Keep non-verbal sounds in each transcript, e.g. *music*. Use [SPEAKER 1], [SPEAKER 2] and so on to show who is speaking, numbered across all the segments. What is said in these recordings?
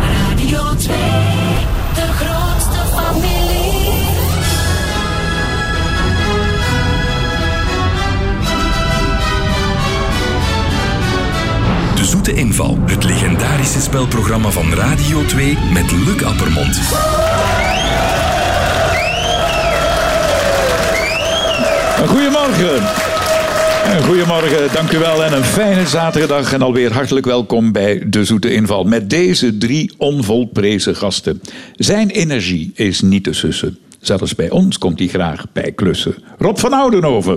[SPEAKER 1] Radio 2, de grootste familie.
[SPEAKER 2] De Zoete Inval, het legendarische spelprogramma van Radio 2 met Luc Appermond.
[SPEAKER 3] Een Goedemorgen. Een Goedemorgen, dank u wel en een fijne zaterdag. En alweer hartelijk welkom bij De Zoete Inval. Met deze drie onvolprezen gasten. Zijn energie is niet te sussen. Zelfs bij ons komt hij graag bij klussen. Rob van Oudenhoven.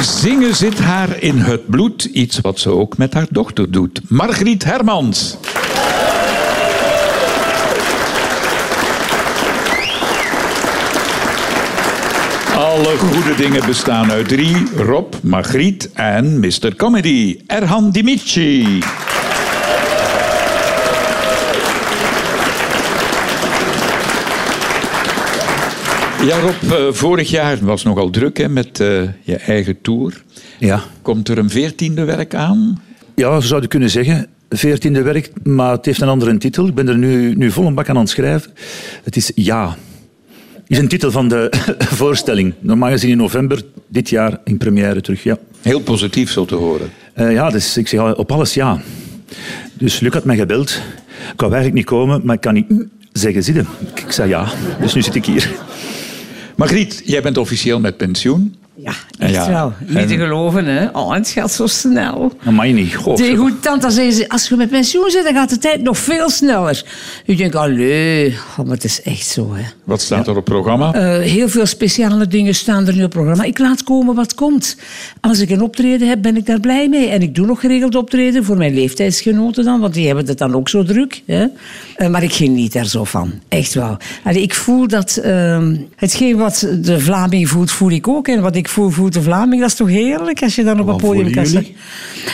[SPEAKER 3] Zingen zit haar in het bloed. Iets wat ze ook met haar dochter doet. Margriet Hermans. Alle goede dingen bestaan uit drie. Rob, Margriet en Mr. Comedy. Erhan Dimici. Ja, Rob, eh, vorig jaar was nogal druk hè, met eh, je eigen tour.
[SPEAKER 4] Ja.
[SPEAKER 3] Komt er een veertiende werk aan?
[SPEAKER 4] ja, zo zou je kunnen zeggen. Veertiende werk, maar het heeft een andere titel. Ik ben er nu, nu vol een bak aan aan het schrijven. Het is Ja. is een titel van de *laughs* voorstelling. Normaal gezien in november, dit jaar in première terug. Ja,
[SPEAKER 3] Heel positief zo te horen.
[SPEAKER 4] Eh, ja dus ik zeg al, op alles ja. Dus Luc had mij gebeld. Ik wou eigenlijk niet komen, maar ik kan niet "Mm" zeggen zitten. Ik ik zei ja, dus nu zit ik hier.
[SPEAKER 3] Margriet, jij bent officieel met pensioen.
[SPEAKER 5] Ja, echt
[SPEAKER 3] Ja.
[SPEAKER 5] wel. Niet
[SPEAKER 3] En-
[SPEAKER 5] te geloven, hè. Oh, het gaat zo snel.
[SPEAKER 4] Amai niet. Goh,
[SPEAKER 5] Tegen goed tante zeggen ze, als je met pensioen zit, dan gaat de tijd nog veel sneller. Je denkt, allee, oh, maar het is echt zo, hè.
[SPEAKER 3] Wat staat er op programma?
[SPEAKER 5] Eh, heel veel speciale dingen staan er nu op programma. Ik laat komen wat komt. Als ik een optreden heb, ben ik daar blij mee. En ik doe nog geregeld optreden voor mijn leeftijdsgenoten dan, want die hebben het dan ook zo druk. Hè? Eh, maar ik geniet daar zo van. Echt wel. Allee, ik voel dat ehm, hetgeen wat de Vlaming voelt, voel ik ook. En wat ik voel, voelt de Vlaming. Dat is toch heerlijk als je dan op een podium
[SPEAKER 4] voelen
[SPEAKER 5] kan staan.
[SPEAKER 4] jullie?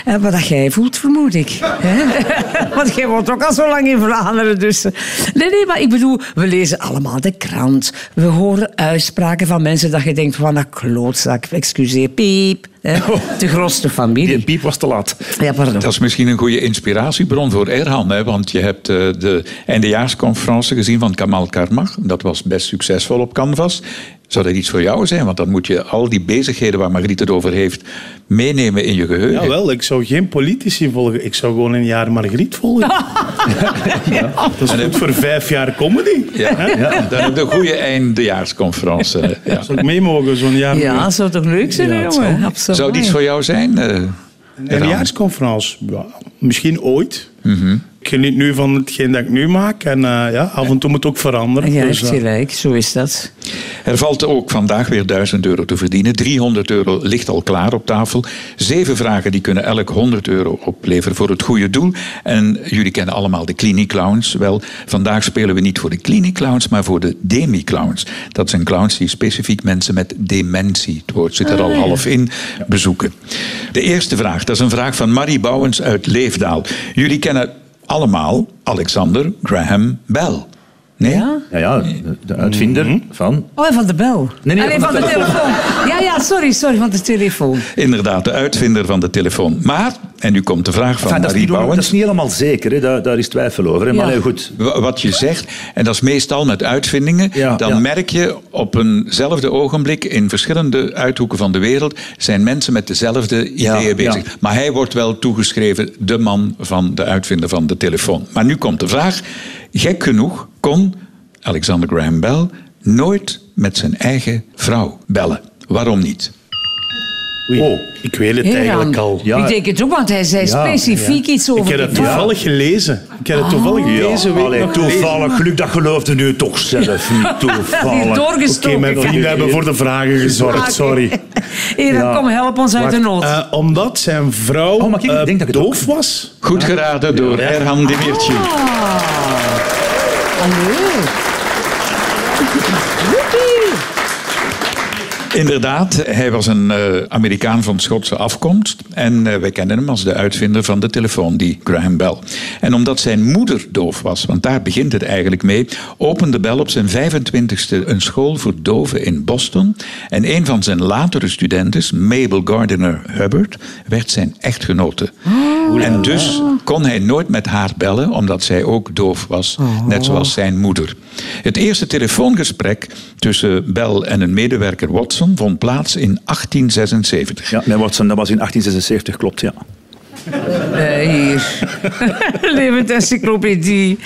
[SPEAKER 5] Eh, wat dat jij voelt, vermoed ik. hè? *laughs* Want jij woont ook al zo lang in Vlaanderen. Dus. eh. Nee, nee, maar ik bedoel, we lezen allemaal de krant. We horen uitspraken van mensen dat je denkt, van een klootzak, excuseer, piep. hè. De grootste
[SPEAKER 4] Die
[SPEAKER 5] familie.
[SPEAKER 4] piep was te laat.
[SPEAKER 5] Ja, pardon.
[SPEAKER 3] Dat is misschien een goede inspiratiebron voor Erhan, hè? want je hebt eh, de eindejaarsconferentie gezien van Kamal Karmach. Dat was best succesvol op Canvas. Zou dat iets voor jou zijn? Want dan moet je al die bezigheden waar Margriet het over heeft meenemen in je geheugen.
[SPEAKER 6] Jawel, ik zou geen politici volgen. Ik zou gewoon een jaar Margriet *laughs* volgen. Dat is goed voor vijf jaar comedy.
[SPEAKER 3] Ja, ja. Dan heb je een goede eindejaarsconferentie. hè. Ja.
[SPEAKER 6] Zou ik mee mogen zo'n jaar?
[SPEAKER 5] Ja, dat zou toch leuk zijn,
[SPEAKER 6] Ja,
[SPEAKER 5] hè,
[SPEAKER 6] het
[SPEAKER 5] jongen?
[SPEAKER 6] zou.
[SPEAKER 5] Absoluut.
[SPEAKER 3] Zou dit iets voor jou zijn? eh,
[SPEAKER 6] Een
[SPEAKER 3] Erhan?
[SPEAKER 6] jaarsconferentie? Ja, misschien ooit.
[SPEAKER 4] Mhm.
[SPEAKER 6] Ik geniet nu van hetgeen dat ik nu maak. En eh, ja, af en toe moet het ook veranderen.
[SPEAKER 5] Ja, je
[SPEAKER 6] Dus,
[SPEAKER 5] hebt
[SPEAKER 6] eh,
[SPEAKER 5] gelijk. Zo is dat.
[SPEAKER 3] Er valt ook vandaag weer 1000 euro te verdienen. 300 euro ligt al klaar op tafel. Zeven vragen die kunnen elk 100 euro opleveren voor het goede doel. En jullie kennen allemaal de Clinic Clowns. Wel, vandaag spelen we niet voor de Clinic Clowns, maar voor de Demi Clowns. Dat zijn clowns die specifiek mensen met dementie, het woord zit er al half in, bezoeken. De eerste vraag, dat is een vraag van Marie Bouwens uit Leefdaal. Jullie kennen allemaal Alexander Graham Bell. Nee?
[SPEAKER 5] Ja?
[SPEAKER 4] Ja, ja, de- de
[SPEAKER 3] Mhm.
[SPEAKER 4] uitvinder van...
[SPEAKER 5] Oh, en van de bel.
[SPEAKER 4] Nee, nee,
[SPEAKER 5] Allee, van,
[SPEAKER 4] van
[SPEAKER 5] de,
[SPEAKER 4] de
[SPEAKER 5] telefoon. Ja, ja, sorry, sorry, van de telefoon.
[SPEAKER 3] Inderdaad, de uitvinder van de telefoon. Maar, en nu komt de vraag van
[SPEAKER 4] Enfin, dat, is
[SPEAKER 3] Marie
[SPEAKER 4] niet, dat
[SPEAKER 3] Bouwens.
[SPEAKER 4] is niet helemaal zeker, hè. Daar, daar is twijfel over. Hè. Maar
[SPEAKER 5] Ja.
[SPEAKER 4] nee, goed,
[SPEAKER 3] Wa- Wat je zegt, en dat is meestal met uitvindingen,
[SPEAKER 4] Ja,
[SPEAKER 3] dan
[SPEAKER 4] ja.
[SPEAKER 3] merk je op eenzelfde ogenblik in verschillende uithoeken van de wereld zijn mensen met dezelfde
[SPEAKER 4] Ja,
[SPEAKER 3] ideeën bezig.
[SPEAKER 4] ja.
[SPEAKER 3] Maar hij wordt wel toegeschreven de man van de uitvinder van de telefoon. Maar nu komt de vraag, gek genoeg kon Alexander Graham Bell nooit met zijn eigen vrouw bellen. Waarom niet?
[SPEAKER 6] oei,
[SPEAKER 4] Oh.
[SPEAKER 6] ik weet het eigenlijk
[SPEAKER 5] Heeraan.
[SPEAKER 6] al.
[SPEAKER 4] Ja.
[SPEAKER 5] Ik denk het ook, want hij zei
[SPEAKER 4] Ja,
[SPEAKER 5] specifiek iets over
[SPEAKER 6] Ik heb
[SPEAKER 5] de
[SPEAKER 6] het
[SPEAKER 5] vrouw.
[SPEAKER 6] toevallig gelezen. Ik heb het toevallig Oh, deze week
[SPEAKER 4] Allee,
[SPEAKER 6] nog gelezen.
[SPEAKER 4] toevallig, Luc, dat geloofde nu
[SPEAKER 5] *laughs*
[SPEAKER 4] toch zelf niet
[SPEAKER 5] Hier
[SPEAKER 4] toevallig.
[SPEAKER 6] Oké,
[SPEAKER 5] doorgestoken.
[SPEAKER 6] mijn vrienden hebben voor de vragen gezorgd. Sorry.
[SPEAKER 5] Hier, dan kom, help ons uit de nood.
[SPEAKER 6] Eh, omdat zijn vrouw
[SPEAKER 4] Oh, maar kijk, ik
[SPEAKER 6] eh,
[SPEAKER 4] denk dat ik het
[SPEAKER 6] doof was.
[SPEAKER 3] Goed geraden door Erhan Demirci. Inderdaad, hij was een eh, Amerikaan van Schotse afkomst. En eh, wij kennen hem als de uitvinder van de telefoon, die Graham Bell. En omdat zijn moeder doof was, want daar begint het eigenlijk mee, opende Bell op zijn 25ste een school voor doven in Boston. En een van zijn latere studenten, Mabel Gardiner Hubbard, werd zijn echtgenote.
[SPEAKER 4] Oh.
[SPEAKER 3] En dus kon hij nooit met haar bellen, omdat zij ook doof was,
[SPEAKER 4] Oh.
[SPEAKER 3] net zoals zijn moeder. Het eerste telefoongesprek tussen Bell en een medewerker Watson vond plaats in 1876.
[SPEAKER 4] Ja, nee, Watson, dat was in 1876, klopt, ja.
[SPEAKER 5] Eh,
[SPEAKER 3] *laughs*
[SPEAKER 5] hier. Levend encyclopedie.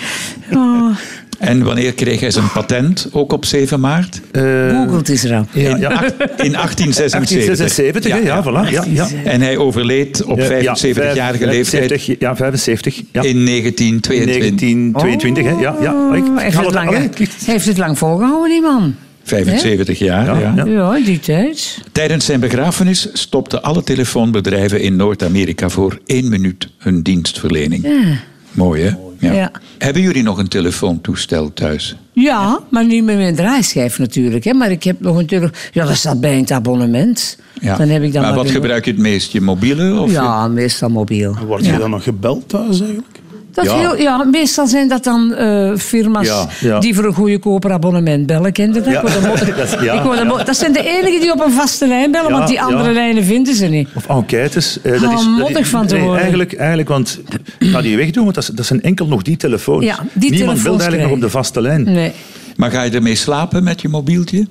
[SPEAKER 3] Eh.
[SPEAKER 5] Oh,
[SPEAKER 3] En wanneer kreeg hij
[SPEAKER 4] Oh.
[SPEAKER 3] zijn patent? Ook op 7 maart?
[SPEAKER 5] Googelt is er al.
[SPEAKER 4] Ja, ja.
[SPEAKER 3] Ach- In 1876.
[SPEAKER 4] 1876, ja, ja, voilà. Ja, ja.
[SPEAKER 3] En hij overleed op
[SPEAKER 4] Ja,
[SPEAKER 3] 75-jarige
[SPEAKER 4] vijf-
[SPEAKER 3] leeftijd
[SPEAKER 4] 70, ja, 75. Ja.
[SPEAKER 3] in 1922.
[SPEAKER 4] 1922, hè? Ja, ja. Ik,
[SPEAKER 5] Oh,
[SPEAKER 4] ik
[SPEAKER 5] heeft,
[SPEAKER 4] haal
[SPEAKER 5] het lang,
[SPEAKER 4] allee,
[SPEAKER 5] hè?
[SPEAKER 4] het ligt-
[SPEAKER 5] heeft het lang volgehouden, die man?
[SPEAKER 3] 75 jaar,
[SPEAKER 4] Ja,
[SPEAKER 3] ja.
[SPEAKER 4] ja.
[SPEAKER 5] Ja, in die tijd.
[SPEAKER 3] Tijdens zijn begrafenis stopten alle telefoonbedrijven in Noord-Amerika voor één minuut hun dienstverlening.
[SPEAKER 5] Ja.
[SPEAKER 3] Mooi, hè?
[SPEAKER 5] Ja.
[SPEAKER 3] Hebben jullie nog een telefoontoestel thuis?
[SPEAKER 5] Ja, maar niet met mijn draaischijf natuurlijk. Hè. Maar ik heb nog een tele- Ja, dat staat bij het abonnement. Dan heb ik dan
[SPEAKER 3] maar wat
[SPEAKER 5] weer-
[SPEAKER 3] gebruik je het meest? Je mobiele? Of je-
[SPEAKER 5] Ja, meestal mobiel.
[SPEAKER 6] Word je dan nog gebeld thuis eigenlijk?
[SPEAKER 5] Dat
[SPEAKER 4] Ja.
[SPEAKER 5] Heel, ja, meestal zijn dat dan eh, firma's
[SPEAKER 4] Ja, ja.
[SPEAKER 5] die voor een goede koper abonnement bellen. Kende dat?
[SPEAKER 4] Ja.
[SPEAKER 5] Ik word er mo-
[SPEAKER 4] Dat is- *laughs* ja,
[SPEAKER 5] ik word er mo- dat zijn de enigen die op een vaste lijn bellen,
[SPEAKER 4] Ja,
[SPEAKER 5] want die andere
[SPEAKER 4] ja.
[SPEAKER 5] lijnen vinden ze niet.
[SPEAKER 4] Of enquêtes. eh,
[SPEAKER 5] Hou
[SPEAKER 4] is,
[SPEAKER 5] modder van te
[SPEAKER 4] nee,
[SPEAKER 5] worden.
[SPEAKER 4] Eigenlijk, eigenlijk, want ik ga die wegdoen, want dat, is- dat zijn enkel nog die telefoons.
[SPEAKER 5] Ja, die
[SPEAKER 4] Niemand
[SPEAKER 5] telefoons
[SPEAKER 4] wil eigenlijk nog
[SPEAKER 5] krijgen.
[SPEAKER 4] op de vaste lijn.
[SPEAKER 5] Nee.
[SPEAKER 3] Maar ga je ermee slapen met je mobieltje?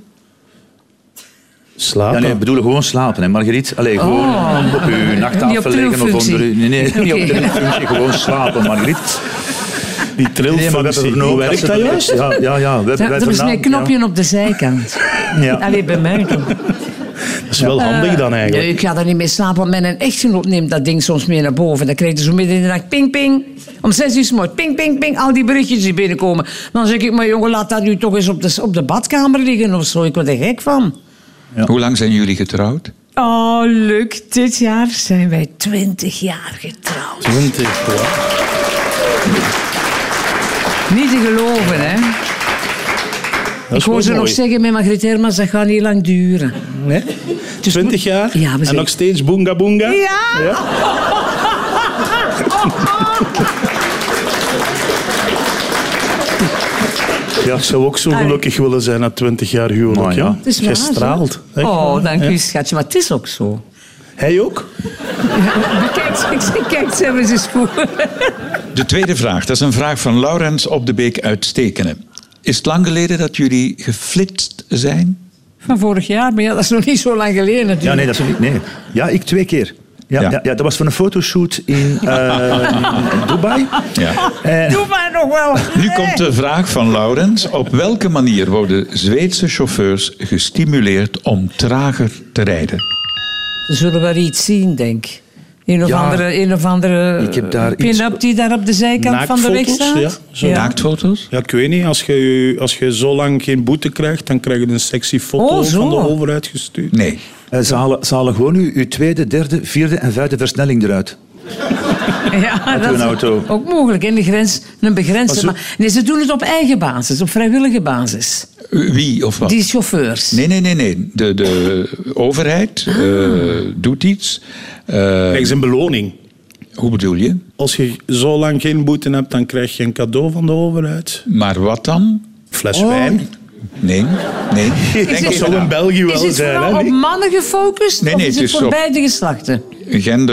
[SPEAKER 4] Ja,
[SPEAKER 6] Slapen?
[SPEAKER 4] nee, ik bedoel gewoon slapen, hè, Margriet. Allee, gewoon
[SPEAKER 5] Oh.
[SPEAKER 4] op uw
[SPEAKER 5] Niet
[SPEAKER 4] nachttafel
[SPEAKER 5] op
[SPEAKER 4] liggen of
[SPEAKER 5] trilfunctie.
[SPEAKER 4] onder uw...
[SPEAKER 5] *laughs*
[SPEAKER 4] Nee, nee, niet op
[SPEAKER 5] Oké.
[SPEAKER 4] trilfunctie, gewoon slapen, Margriet.
[SPEAKER 6] Die trilfunctie,
[SPEAKER 4] er
[SPEAKER 6] hoe
[SPEAKER 4] nog-
[SPEAKER 6] werkt
[SPEAKER 4] ze-
[SPEAKER 6] dat juist?
[SPEAKER 4] Ja, ja, ja. wij-
[SPEAKER 5] Dat,
[SPEAKER 4] wij
[SPEAKER 5] er is
[SPEAKER 4] vandaan-
[SPEAKER 5] een knopje op de
[SPEAKER 4] *laughs*
[SPEAKER 5] zijkant.
[SPEAKER 4] Ja.
[SPEAKER 5] Allee, bij mij. toch.
[SPEAKER 6] Dat is wel handig dan
[SPEAKER 5] Nee,
[SPEAKER 6] eigenlijk.
[SPEAKER 5] ik ga daar niet mee slapen, want mijn echtgenoot neemt dat ding soms mee naar boven. Dan krijg je zo midden in de nacht ping, ping. Om zes uur 's morgens ping, ping, ping. Al die berichtjes die binnenkomen. Dan zeg ik, maar jongen, laat dat nu toch eens op de, op de badkamer liggen of zo. Ik word er gek van.
[SPEAKER 3] Hoe lang zijn jullie getrouwd?
[SPEAKER 5] Oh, Luc, dit jaar zijn wij 20 jaar getrouwd.
[SPEAKER 6] 20, ja.
[SPEAKER 5] Niet te geloven, hè?
[SPEAKER 6] Dat
[SPEAKER 5] Ik
[SPEAKER 6] is wel
[SPEAKER 5] hoor ze nog
[SPEAKER 6] mooi.
[SPEAKER 5] zeggen met Margriet Hermans, dat gaat niet lang duren.
[SPEAKER 6] Nee?
[SPEAKER 5] Dus
[SPEAKER 6] 20 jaar
[SPEAKER 5] Ja, we
[SPEAKER 6] en
[SPEAKER 5] zijn-
[SPEAKER 6] nog steeds boonga boonga.
[SPEAKER 5] Ja!
[SPEAKER 6] Ja, ik zou ook zo gelukkig willen zijn na 20 jaar huwelijk.
[SPEAKER 4] Mooi,
[SPEAKER 6] ja.
[SPEAKER 4] hè?
[SPEAKER 5] Het is waar,
[SPEAKER 6] Jij
[SPEAKER 5] zo.
[SPEAKER 6] straalt. Echt
[SPEAKER 5] Oh,
[SPEAKER 6] waar.
[SPEAKER 5] dank
[SPEAKER 6] Ja.
[SPEAKER 5] u, schatje. Maar het is ook zo.
[SPEAKER 6] Hij ook?
[SPEAKER 5] Kijk, kijk, kijk, ze hebben ze spoor.
[SPEAKER 3] De tweede vraag, dat is een vraag van Laurens op de Beek uit Stekenen. Is het lang geleden dat jullie geflitst zijn?
[SPEAKER 5] Van vorig jaar, maar ja, dat is nog niet zo lang geleden natuurlijk.
[SPEAKER 4] Ja, nee, dat is niet. Nee. Ja, ik twee keer. Ja,
[SPEAKER 3] Ja.
[SPEAKER 4] ja. Ja, dat was voor een fotoshoot in
[SPEAKER 6] *laughs*
[SPEAKER 4] eh, Dubai.
[SPEAKER 5] *laughs*
[SPEAKER 3] Ja.
[SPEAKER 4] Eh,
[SPEAKER 5] Doe maar nog wel.
[SPEAKER 3] Nu komt de vraag van Laurens. Op welke manier worden Zweedse chauffeurs gestimuleerd om trager te rijden?
[SPEAKER 5] Ze zullen wel iets zien, denk ik. Een of
[SPEAKER 4] Ja.
[SPEAKER 5] andere, een of andere
[SPEAKER 4] Ik heb daar
[SPEAKER 5] eh, pin-up die daar op de zijkant van de weg
[SPEAKER 6] Naaktfoto's,
[SPEAKER 5] staat.
[SPEAKER 6] ja, zo.
[SPEAKER 3] Naaktfoto's?
[SPEAKER 6] Ja, ik weet niet. Als je, als je zo lang geen boete krijgt, dan krijg je een sexy foto
[SPEAKER 5] Oh, zo.
[SPEAKER 6] van de overheid gestuurd.
[SPEAKER 3] Nee.
[SPEAKER 4] eh, ze, halen, ze halen gewoon uw, uw tweede, derde, vierde en vijfde versnelling eruit.
[SPEAKER 5] Ja, dat
[SPEAKER 4] uw
[SPEAKER 5] is
[SPEAKER 4] auto.
[SPEAKER 5] ook mogelijk. In de grens, een begrensde.
[SPEAKER 6] Maar zo-
[SPEAKER 5] Maar nee, ze doen het op eigen basis, op vrijwillige basis.
[SPEAKER 3] Wie of wat?
[SPEAKER 5] Die chauffeurs.
[SPEAKER 3] Nee, nee, nee. nee. De, de overheid eh, doet iets. Eh,
[SPEAKER 6] Krijg je een beloning.
[SPEAKER 3] hoe bedoel je?
[SPEAKER 6] Als je zo lang geen boete hebt, dan krijg je een cadeau van de overheid.
[SPEAKER 3] Maar wat dan?
[SPEAKER 5] Oh.
[SPEAKER 6] Fles wijn.
[SPEAKER 3] Nee, nee. Denk
[SPEAKER 5] het-
[SPEAKER 6] Dat
[SPEAKER 3] even
[SPEAKER 6] zou in
[SPEAKER 3] na.
[SPEAKER 6] België
[SPEAKER 5] Is
[SPEAKER 6] wel
[SPEAKER 5] het
[SPEAKER 6] zijn.
[SPEAKER 5] vooral
[SPEAKER 6] hè,
[SPEAKER 5] op
[SPEAKER 6] Nick?
[SPEAKER 5] mannen gefocust
[SPEAKER 3] Nee, nee,
[SPEAKER 5] of is
[SPEAKER 3] het
[SPEAKER 5] het
[SPEAKER 3] is
[SPEAKER 5] voor
[SPEAKER 3] op-
[SPEAKER 5] beide geslachten?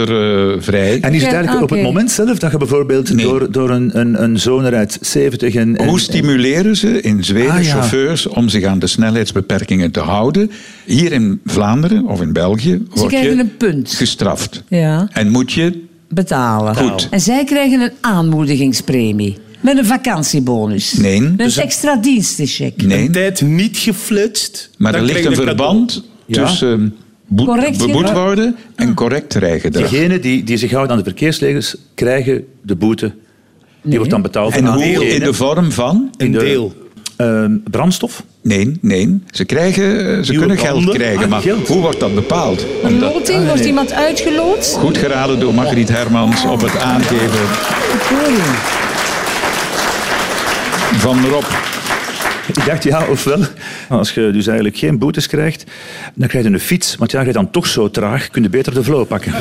[SPEAKER 3] Gendervrij.
[SPEAKER 4] En is het
[SPEAKER 5] Ja,
[SPEAKER 4] eigenlijk op het
[SPEAKER 5] oké.
[SPEAKER 4] moment zelf dat je bijvoorbeeld
[SPEAKER 3] Nee.
[SPEAKER 4] door, door een, een, een zoon eruit 70 en... en-
[SPEAKER 3] Hoe stimuleren ze in Zweden
[SPEAKER 4] Ah, ja.
[SPEAKER 3] chauffeurs om zich aan de snelheidsbeperkingen te houden? Hier in Vlaanderen of in België word je
[SPEAKER 5] krijgen een punt.
[SPEAKER 3] gestraft.
[SPEAKER 5] Ja.
[SPEAKER 3] En moet je...
[SPEAKER 5] betalen.
[SPEAKER 3] Goed.
[SPEAKER 5] En zij krijgen een aanmoedigingspremie. Met een vakantiebonus.
[SPEAKER 3] Nee.
[SPEAKER 5] Een
[SPEAKER 3] Dus-
[SPEAKER 5] extra dienstencheck.
[SPEAKER 3] Nee,
[SPEAKER 6] Tijd niet geflitst.
[SPEAKER 3] maar er
[SPEAKER 6] dan
[SPEAKER 3] ligt
[SPEAKER 6] krijg
[SPEAKER 3] een
[SPEAKER 6] je cadeau.
[SPEAKER 3] verband tussen ehm, boet,
[SPEAKER 5] Correct
[SPEAKER 3] beboet
[SPEAKER 5] gedrag.
[SPEAKER 3] worden en correct rijgedrag.
[SPEAKER 4] Degenen die, die zich houden aan de verkeersregels krijgen de boete. Die wordt dan betaald
[SPEAKER 3] En
[SPEAKER 4] aan
[SPEAKER 3] hoe
[SPEAKER 4] degene-
[SPEAKER 3] in de vorm van...
[SPEAKER 6] Een
[SPEAKER 4] de-
[SPEAKER 6] deel.
[SPEAKER 4] Ehm, brandstof. *laughs*
[SPEAKER 3] Nee, nee. Ze, krijgen, eh, ze
[SPEAKER 6] Nieuwe
[SPEAKER 3] kunnen geld
[SPEAKER 6] banden?
[SPEAKER 3] krijgen,
[SPEAKER 4] Ah,
[SPEAKER 3] maar
[SPEAKER 4] geld.
[SPEAKER 3] hoe wordt dat bepaald?
[SPEAKER 5] Een
[SPEAKER 3] Omdat-
[SPEAKER 5] loting? Wordt iemand uitgeloot?
[SPEAKER 3] Goed geraden door Margriet Hermans op het aangeven
[SPEAKER 5] Oei.
[SPEAKER 3] van Rob.
[SPEAKER 4] Ik dacht, ja, ofwel. Als je dus eigenlijk geen boetes krijgt, dan krijg je een fiets. Want ja, je dan toch zo traag, kun je beter de flow pakken.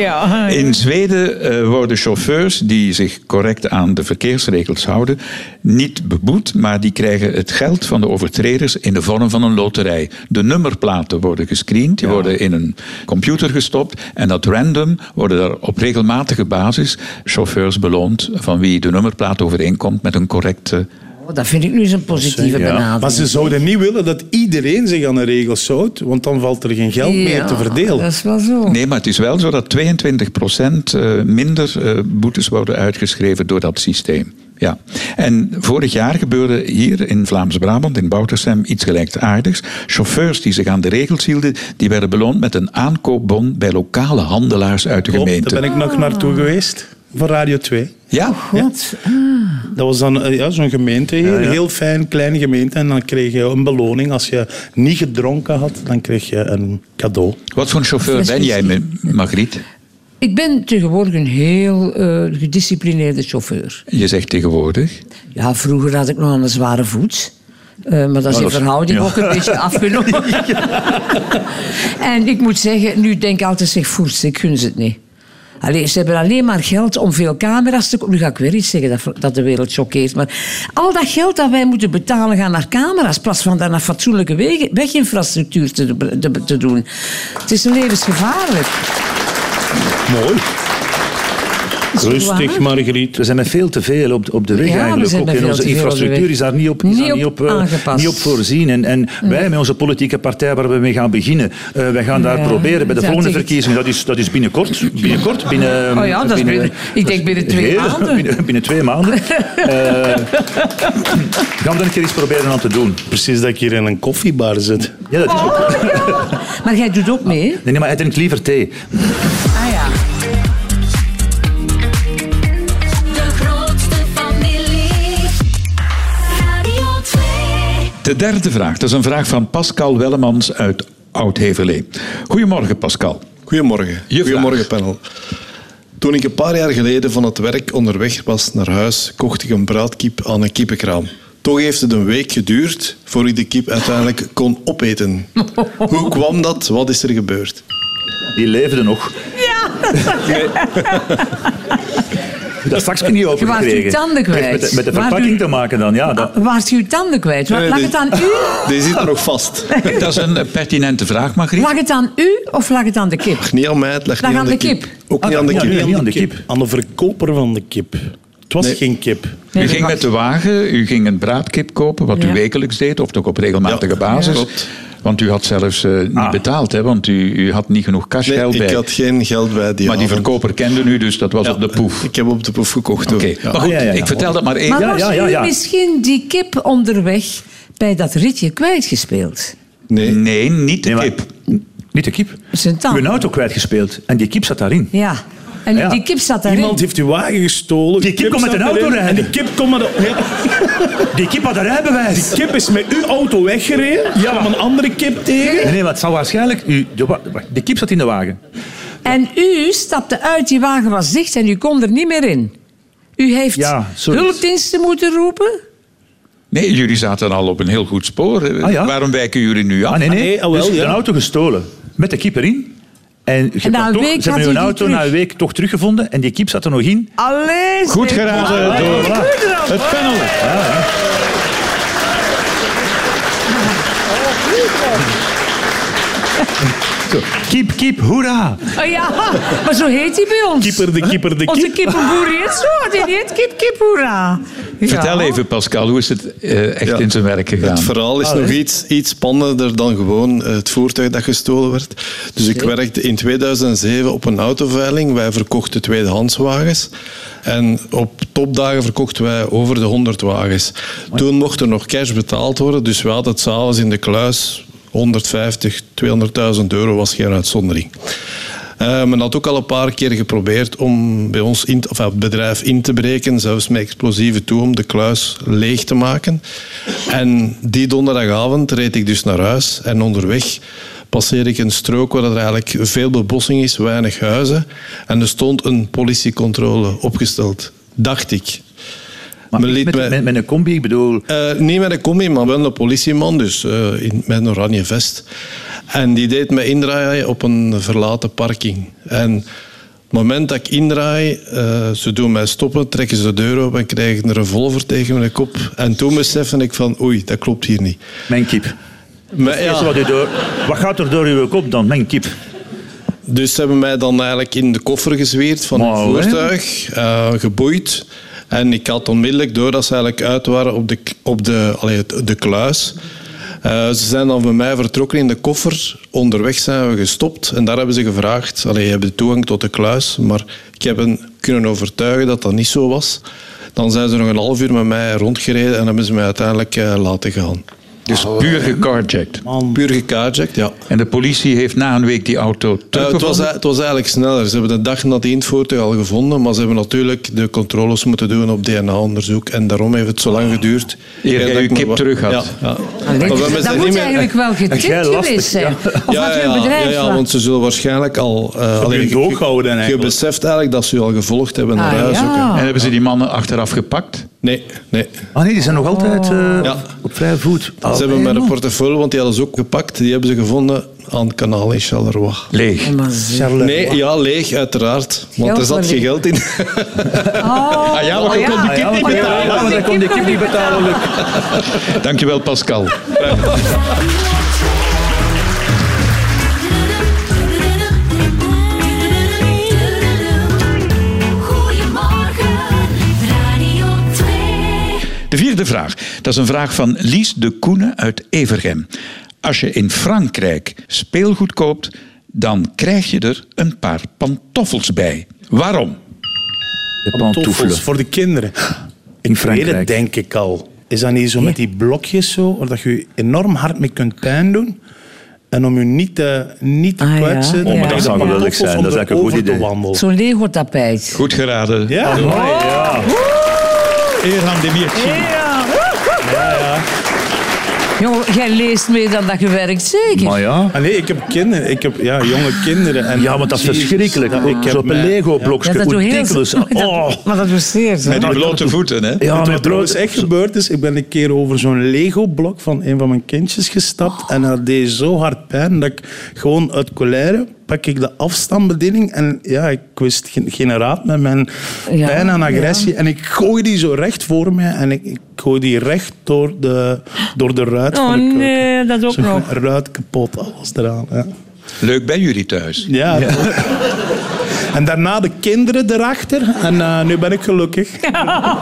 [SPEAKER 5] ja.
[SPEAKER 3] In Zweden eh, worden chauffeurs die zich correct aan de verkeersregels houden, niet beboet, maar die krijgen het geld van de overtreders in de vorm van een loterij. De nummerplaten worden gescreend, die worden in een computer gestopt en dat random worden daar op regelmatige basis chauffeurs beloond van wie de nummerplaat overeenkomt met een correcte.
[SPEAKER 5] Oh, dat vind ik nu eens een positieve
[SPEAKER 4] Ja.
[SPEAKER 5] benadering.
[SPEAKER 6] Maar ze zouden niet willen dat iedereen zich aan de regels houdt, want dan valt er geen geld meer te
[SPEAKER 5] Ja,
[SPEAKER 6] verdelen.
[SPEAKER 5] Dat is wel zo.
[SPEAKER 3] Nee, maar het is wel zo dat 22% eh, minder eh, boetes worden uitgeschreven door dat systeem. Ja. En vorig jaar gebeurde hier in Vlaams-Brabant, in Boutersem, iets gelijkaardigs. Chauffeurs die zich aan de regels hielden, die werden beloond met een aankoopbon bij lokale handelaars uit de
[SPEAKER 6] Klopt,
[SPEAKER 3] gemeente.
[SPEAKER 6] daar ben ik Oh, nog naartoe geweest, voor Radio 2.
[SPEAKER 3] Ja,
[SPEAKER 5] Goed.
[SPEAKER 6] Dat was dan eh, ja, zo'n gemeente hier,
[SPEAKER 4] ja.
[SPEAKER 6] een heel fijn, kleine gemeente. En dan kreeg je een beloning. Als je niet gedronken had, dan kreeg je een cadeau.
[SPEAKER 3] wat voor een chauffeur ben jij, Ma- Margriet?
[SPEAKER 5] Ik ben tegenwoordig een heel eh, gedisciplineerde chauffeur.
[SPEAKER 3] Je zegt tegenwoordig.
[SPEAKER 5] Ja, vroeger had ik nog een zware voet. Eh, maar dat is in
[SPEAKER 4] dat is-
[SPEAKER 5] verhouding
[SPEAKER 4] ja.
[SPEAKER 5] ook een beetje afgenomen. en ik moet zeggen, nu denk ik altijd, zeg voerst, ik gun ze het niet. Allee, ze hebben alleen maar geld om veel camera's te... ko- Nu ga ik weer iets zeggen dat, dat de wereld choqueert. Maar al dat geld dat wij moeten betalen gaat naar camera's. In plaats van dat naar fatsoenlijke wegen, weginfrastructuur te, te- te doen. Het is levensgevaarlijk.
[SPEAKER 6] Mooi.
[SPEAKER 5] Is het
[SPEAKER 6] Rustig,
[SPEAKER 5] waar?
[SPEAKER 6] Margriet.
[SPEAKER 4] We zijn met veel te veel op, op de weg
[SPEAKER 5] Ja, we
[SPEAKER 4] eigenlijk.
[SPEAKER 5] zijn
[SPEAKER 4] Ook
[SPEAKER 5] met
[SPEAKER 4] in
[SPEAKER 5] veel
[SPEAKER 4] onze
[SPEAKER 5] te veel op de
[SPEAKER 4] infrastructuur
[SPEAKER 5] weg.
[SPEAKER 4] is daar niet op, is
[SPEAKER 5] Niet
[SPEAKER 4] daar niet
[SPEAKER 5] op
[SPEAKER 4] op, eh,
[SPEAKER 5] aangepast.
[SPEAKER 4] niet op voorzien. En, en wij met onze politieke partij waar we mee gaan beginnen, eh, wij gaan daar
[SPEAKER 5] Ja,
[SPEAKER 4] proberen bij de
[SPEAKER 5] dat
[SPEAKER 4] volgende
[SPEAKER 5] ik-
[SPEAKER 4] verkiezingen. Dat is, dat is binnenkort. Binnenkort. Binnen,
[SPEAKER 5] Oh ja, dat is binnen- ik denk binnen twee
[SPEAKER 4] heel-
[SPEAKER 5] maanden.
[SPEAKER 4] *laughs* Binnen, binnen twee
[SPEAKER 5] *laughs*
[SPEAKER 4] maanden. Eh, gaan we daar een keer iets proberen aan te doen.
[SPEAKER 6] Precies dat ik hier in een koffiebar zit.
[SPEAKER 4] Ja, dat is
[SPEAKER 5] Oh.
[SPEAKER 4] ook-
[SPEAKER 5] Maar jij doet ook mee, hè?
[SPEAKER 4] nee, nee, maar hij drinkt liever thee.
[SPEAKER 5] Ah ja.
[SPEAKER 1] De grootste familie. Radio 2.
[SPEAKER 3] De derde vraag, dat is een vraag van Pascal Wellemans uit Oud-Heverlee. Goedemorgen, Pascal.
[SPEAKER 7] Goedemorgen.
[SPEAKER 3] Je
[SPEAKER 7] Goedemorgen,
[SPEAKER 3] vraag.
[SPEAKER 7] panel. Toen ik een paar jaar geleden van het werk onderweg was naar huis, kocht ik een braadkip aan een kippenkraam. Toch heeft het een week geduurd voor ik de kip uiteindelijk kon
[SPEAKER 3] *laughs*
[SPEAKER 7] opeten. Hoe kwam dat? Wat is er gebeurd?
[SPEAKER 4] Die leefde nog. Ja! *laughs* Dat straks niet open
[SPEAKER 5] Je waart uw tanden kwijt.
[SPEAKER 4] Met de, met de
[SPEAKER 5] Waart
[SPEAKER 4] verpakking
[SPEAKER 5] u-
[SPEAKER 4] te maken dan, ja. Dat,
[SPEAKER 5] Waart u uw tanden kwijt? Wa-
[SPEAKER 7] Nee,
[SPEAKER 5] Lag
[SPEAKER 7] nee.
[SPEAKER 5] het aan u?
[SPEAKER 7] Die zit er nog vast.
[SPEAKER 3] Dat is een eh, pertinente vraag, Margriet.
[SPEAKER 5] Lag het aan u of lag het aan de kip?
[SPEAKER 7] Niet aan mij, het lag
[SPEAKER 5] Lag
[SPEAKER 7] niet
[SPEAKER 5] aan
[SPEAKER 7] aan
[SPEAKER 5] de
[SPEAKER 7] de
[SPEAKER 5] kip.
[SPEAKER 7] kip. Ook niet aan de
[SPEAKER 4] ja,
[SPEAKER 7] kip.
[SPEAKER 4] nee, niet aan de kip.
[SPEAKER 6] Aan de verkoper van de kip. Het was
[SPEAKER 7] Nee.
[SPEAKER 6] geen kip.
[SPEAKER 5] Nee,
[SPEAKER 3] u
[SPEAKER 5] dat
[SPEAKER 3] ging
[SPEAKER 5] mag-
[SPEAKER 3] met de wagen, u ging een braadkip kopen, wat
[SPEAKER 5] Ja.
[SPEAKER 3] u wekelijks deed, of toch op regelmatige
[SPEAKER 7] Ja,
[SPEAKER 3] basis.
[SPEAKER 7] klopt.
[SPEAKER 3] Want u had zelfs eh, niet betaald, hè, want u, u had niet genoeg
[SPEAKER 7] Nee,
[SPEAKER 3] cashgeld
[SPEAKER 7] ik
[SPEAKER 3] bij.
[SPEAKER 7] had geen geld bij die
[SPEAKER 3] maar die
[SPEAKER 7] avond.
[SPEAKER 3] verkoper kende u, dus dat was op de poef.
[SPEAKER 7] Ik heb op de poef gekocht.
[SPEAKER 3] Oké,
[SPEAKER 7] hoor.
[SPEAKER 3] maar goed,
[SPEAKER 4] Ah, ja, ja, ja.
[SPEAKER 3] ik vertel dat maar even.
[SPEAKER 5] Maar
[SPEAKER 4] Ja,
[SPEAKER 5] was
[SPEAKER 4] ja, ja, ja.
[SPEAKER 5] u misschien die kip onderweg bij dat ritje kwijtgespeeld?
[SPEAKER 7] Nee,
[SPEAKER 3] Nee, niet de
[SPEAKER 4] Nee, maar-
[SPEAKER 3] kip.
[SPEAKER 4] Niet de kip.
[SPEAKER 5] Zijn tand.
[SPEAKER 4] Uw auto kwijtgespeeld. En die kip zat daarin.
[SPEAKER 5] Ja. En
[SPEAKER 4] Ja.
[SPEAKER 5] die kip zat daarin.
[SPEAKER 6] Iemand heeft uw wagen gestolen.
[SPEAKER 4] Die kip komt met
[SPEAKER 6] zat
[SPEAKER 4] een auto
[SPEAKER 6] erin
[SPEAKER 4] rijden.
[SPEAKER 6] En die kip komt met een... Ja,
[SPEAKER 4] Die kip had haar rijbewijs.
[SPEAKER 6] die kip is met uw auto weggereden. Ja. Kwam een andere kip tegen.
[SPEAKER 4] Nee, nee, maar het zou waarschijnlijk... U, de, wa- wacht, de kip zat in de wagen.
[SPEAKER 6] Ah,
[SPEAKER 5] En u stapte uit, die wagen was dicht en u kon er niet meer in. U heeft
[SPEAKER 4] Ja, sorry.
[SPEAKER 5] hulpdiensten moeten roepen.
[SPEAKER 3] Nee, jullie zaten al op een heel goed spoor. Eh,
[SPEAKER 4] Ah, ja?
[SPEAKER 3] Waarom wijken jullie nu af?
[SPEAKER 4] Ah, nee,
[SPEAKER 6] Ah,
[SPEAKER 4] nee.
[SPEAKER 6] nee, ah, wel,
[SPEAKER 4] dus je hebt
[SPEAKER 6] ja.
[SPEAKER 4] een auto gestolen. Met de kip erin. En, je hebt
[SPEAKER 5] na
[SPEAKER 4] dan
[SPEAKER 5] een
[SPEAKER 4] toch,
[SPEAKER 5] week
[SPEAKER 4] ze
[SPEAKER 5] had
[SPEAKER 4] hebben
[SPEAKER 5] u
[SPEAKER 4] uw
[SPEAKER 5] die
[SPEAKER 4] auto
[SPEAKER 5] terug.
[SPEAKER 4] na een week toch teruggevonden. En die kip zat er nog in.
[SPEAKER 5] Allee,
[SPEAKER 3] Goed
[SPEAKER 5] zeg.
[SPEAKER 3] geraden
[SPEAKER 5] Ah,
[SPEAKER 3] door-
[SPEAKER 5] goed erop.
[SPEAKER 3] Het panel.
[SPEAKER 4] Zo. Kip, kip, hoera.
[SPEAKER 5] Oh ja, maar zo heet hij bij ons.
[SPEAKER 6] Kieper de kieper de
[SPEAKER 5] Onze
[SPEAKER 6] kip.
[SPEAKER 5] kippenboer heet zo. Die heet kip kip hoera. Ja.
[SPEAKER 3] Vertel even, Pascal, hoe is het eh, echt
[SPEAKER 7] Ja.
[SPEAKER 3] in zijn werk gegaan?
[SPEAKER 7] Het verhaal is nog iets, iets spannender dan gewoon eh, het voertuig dat gestolen werd. Dus ik werkte in 2007 op een autoveiling. Wij verkochten tweedehands wagens. En op topdagen verkochten wij over de 100 wagens. Toen mocht er nog cash betaald worden. Dus we hadden het s'avonds in de kluis. 150, 200.000 euro was geen uitzondering. Eh, men had ook al een paar keer geprobeerd om bij ons in, of eh, het bedrijf in te breken, zelfs met explosieven toe, om de kluis leeg te maken. En die donderdagavond reed ik dus naar huis en onderweg passeer ik een strook waar er eigenlijk veel bebossing is, weinig huizen. En er stond een politiecontrole opgesteld, dacht ik.
[SPEAKER 4] Maar
[SPEAKER 7] Men
[SPEAKER 4] ik
[SPEAKER 7] liet
[SPEAKER 4] met,
[SPEAKER 7] mij-
[SPEAKER 4] met, met een combi, ik bedoel...
[SPEAKER 7] Eh, niet met een combi, maar wel een politieman, dus eh, in, met een oranje vest. En die deed me indraaien op een verlaten parking. En het moment dat ik indraai, eh, ze doen mij stoppen, trekken ze de deur open en krijgen een revolver tegen mijn kop. En toen besefte ik van, oei, dat klopt hier niet.
[SPEAKER 4] Mijn kip.
[SPEAKER 7] Maar ja,
[SPEAKER 4] Eerst wat, u door, wat gaat er door uw kop dan? Mijn kip.
[SPEAKER 7] dus ze hebben mij dan eigenlijk in de koffer gezweerd van
[SPEAKER 4] Maar,
[SPEAKER 7] het
[SPEAKER 4] hè?
[SPEAKER 7] voertuig, eh, geboeid. En ik had onmiddellijk door dat ze eigenlijk uit waren op de, k- op de, allee, het- de kluis. Eh, ze zijn dan bij mij vertrokken in de koffer. Onderweg zijn we gestopt en daar hebben ze gevraagd. Allee, je hebt toegang tot de kluis, maar ik heb hen kunnen overtuigen dat dat niet zo was. Dan zijn ze nog een half uur met mij rondgereden en hebben ze mij uiteindelijk eh, laten gaan.
[SPEAKER 3] Dus puur gecarjacked.
[SPEAKER 7] Puur gecarjacked, ja.
[SPEAKER 3] En de politie heeft na een week die auto
[SPEAKER 7] Eh, het, was,
[SPEAKER 3] teruggevonden.
[SPEAKER 7] het was eigenlijk sneller. Ze hebben de dag nadien het voertuig al gevonden, maar ze hebben natuurlijk de controles moeten doen op DNA-onderzoek. En daarom heeft het zo lang geduurd.
[SPEAKER 3] Eer jij
[SPEAKER 7] dat
[SPEAKER 3] uw
[SPEAKER 7] ik me
[SPEAKER 3] kip
[SPEAKER 7] wa-
[SPEAKER 3] terug had. Ah,
[SPEAKER 7] Ja, ja.
[SPEAKER 5] Allee,
[SPEAKER 7] Maar Oh, we hebben
[SPEAKER 5] dat
[SPEAKER 7] ze
[SPEAKER 5] moet
[SPEAKER 7] niet meer-
[SPEAKER 5] eigenlijk wel
[SPEAKER 4] Jij
[SPEAKER 5] getipt
[SPEAKER 4] lastig,
[SPEAKER 5] geweest zijn.
[SPEAKER 4] ja.
[SPEAKER 5] Of had je een bedrijf?
[SPEAKER 7] ja, ja,
[SPEAKER 5] waar-
[SPEAKER 7] want ze zullen waarschijnlijk al... eh
[SPEAKER 6] hebben hun doog gehouden dan
[SPEAKER 7] Je
[SPEAKER 6] eigenlijk.
[SPEAKER 7] beseft eigenlijk dat ze u al gevolgd hebben naar
[SPEAKER 5] Ah,
[SPEAKER 7] huis.
[SPEAKER 5] ja.
[SPEAKER 7] ook, hè.
[SPEAKER 3] En hebben ze die mannen achteraf gepakt?
[SPEAKER 7] Nee, nee.
[SPEAKER 4] Ah nee, die zijn nog altijd eh,
[SPEAKER 7] Ja.
[SPEAKER 4] op vrije voet.
[SPEAKER 7] Ze
[SPEAKER 5] Oh,
[SPEAKER 7] hebben maar een portefeuille, want die hadden ze ook gepakt. Die hebben ze gevonden aan het kanaal in Charleroi.
[SPEAKER 3] Leeg.
[SPEAKER 5] Maar ze-
[SPEAKER 7] Nee, ja, leeg, uiteraard. Want
[SPEAKER 5] Geld
[SPEAKER 7] er zat
[SPEAKER 5] maar
[SPEAKER 7] geen
[SPEAKER 5] leeg.
[SPEAKER 7] geld in.
[SPEAKER 5] Oh,
[SPEAKER 3] Ah ja, maar
[SPEAKER 5] oh,
[SPEAKER 3] je kon die kip niet
[SPEAKER 5] oh,
[SPEAKER 3] betalen.
[SPEAKER 5] ja,
[SPEAKER 4] Ja, maar dan kon die kip niet betalen. Luc.
[SPEAKER 3] Dankjewel, Pascal.
[SPEAKER 1] Goedemorgen, Radio 2.
[SPEAKER 3] De vierde vraag. Dat is een vraag van Lies de Koene uit Evergem. Als je in Frankrijk speelgoed koopt, dan krijg je er een paar pantoffels bij. Waarom?
[SPEAKER 4] De pantoffels.
[SPEAKER 6] Toffels voor de kinderen.
[SPEAKER 4] In
[SPEAKER 6] Weet het,
[SPEAKER 4] Frankrijk.
[SPEAKER 6] denk ik al. Is dat niet zo met die blokjes zo, waar dat je je enorm hard mee kunt pijn doen? En om je niet te, niet te
[SPEAKER 5] Ah, ja.
[SPEAKER 6] kwetsen.
[SPEAKER 5] Oh, maar dat
[SPEAKER 6] Ja.
[SPEAKER 5] zou
[SPEAKER 6] Ja.
[SPEAKER 4] geweldig zijn.
[SPEAKER 6] Om
[SPEAKER 4] Dat is eigenlijk een goed
[SPEAKER 6] erover te
[SPEAKER 4] idee. Ah,
[SPEAKER 6] wandelen.
[SPEAKER 5] Zo'n Lego-tapijt.
[SPEAKER 3] Goed geraden.
[SPEAKER 6] Ja,
[SPEAKER 3] Eer aan de Miertje.
[SPEAKER 5] Jongen, jij leest meer dan dat je werkt, zeker?
[SPEAKER 4] Maar ja.
[SPEAKER 6] Ah, nee, ik heb kinderen. Ik heb ja, jonge kinderen. En
[SPEAKER 4] Ja, want dat is
[SPEAKER 6] Jezus,
[SPEAKER 4] verschrikkelijk.
[SPEAKER 6] dat
[SPEAKER 4] Ik heb op een
[SPEAKER 6] mij-
[SPEAKER 5] Ja,
[SPEAKER 4] Lego-blokje.
[SPEAKER 5] dat
[SPEAKER 4] Hoe
[SPEAKER 5] doe heel-
[SPEAKER 4] *laughs* dikwijls.
[SPEAKER 5] *laughs*
[SPEAKER 4] Oh.
[SPEAKER 5] Maar dat besteedt.
[SPEAKER 3] Met die blote voeten, hè?
[SPEAKER 4] Ja,
[SPEAKER 6] Weet je
[SPEAKER 4] met
[SPEAKER 6] wat er dus
[SPEAKER 4] brood.
[SPEAKER 6] echt gebeurd is, ik ben een keer over zo'n Lego-blok van een van mijn kindjes gestapt en dat deed zo hard pijn dat ik gewoon uit colère pak ik de afstandsbediening en ja, ik wist geen, geen raad met mijn
[SPEAKER 5] Ja,
[SPEAKER 6] pijn en agressie en ik gooi die zo recht voor me en ik, ik gooi die recht door de, door de ruit
[SPEAKER 5] Oh
[SPEAKER 6] van de keuken.
[SPEAKER 5] nee, dat ook
[SPEAKER 6] Zo
[SPEAKER 5] nog.
[SPEAKER 6] van, ruit kapot, alles eraan. Ja.
[SPEAKER 3] Leuk bij jullie thuis.
[SPEAKER 6] Ja. *laughs* En daarna de kinderen erachter en eh, nu ben ik gelukkig.
[SPEAKER 3] Ja,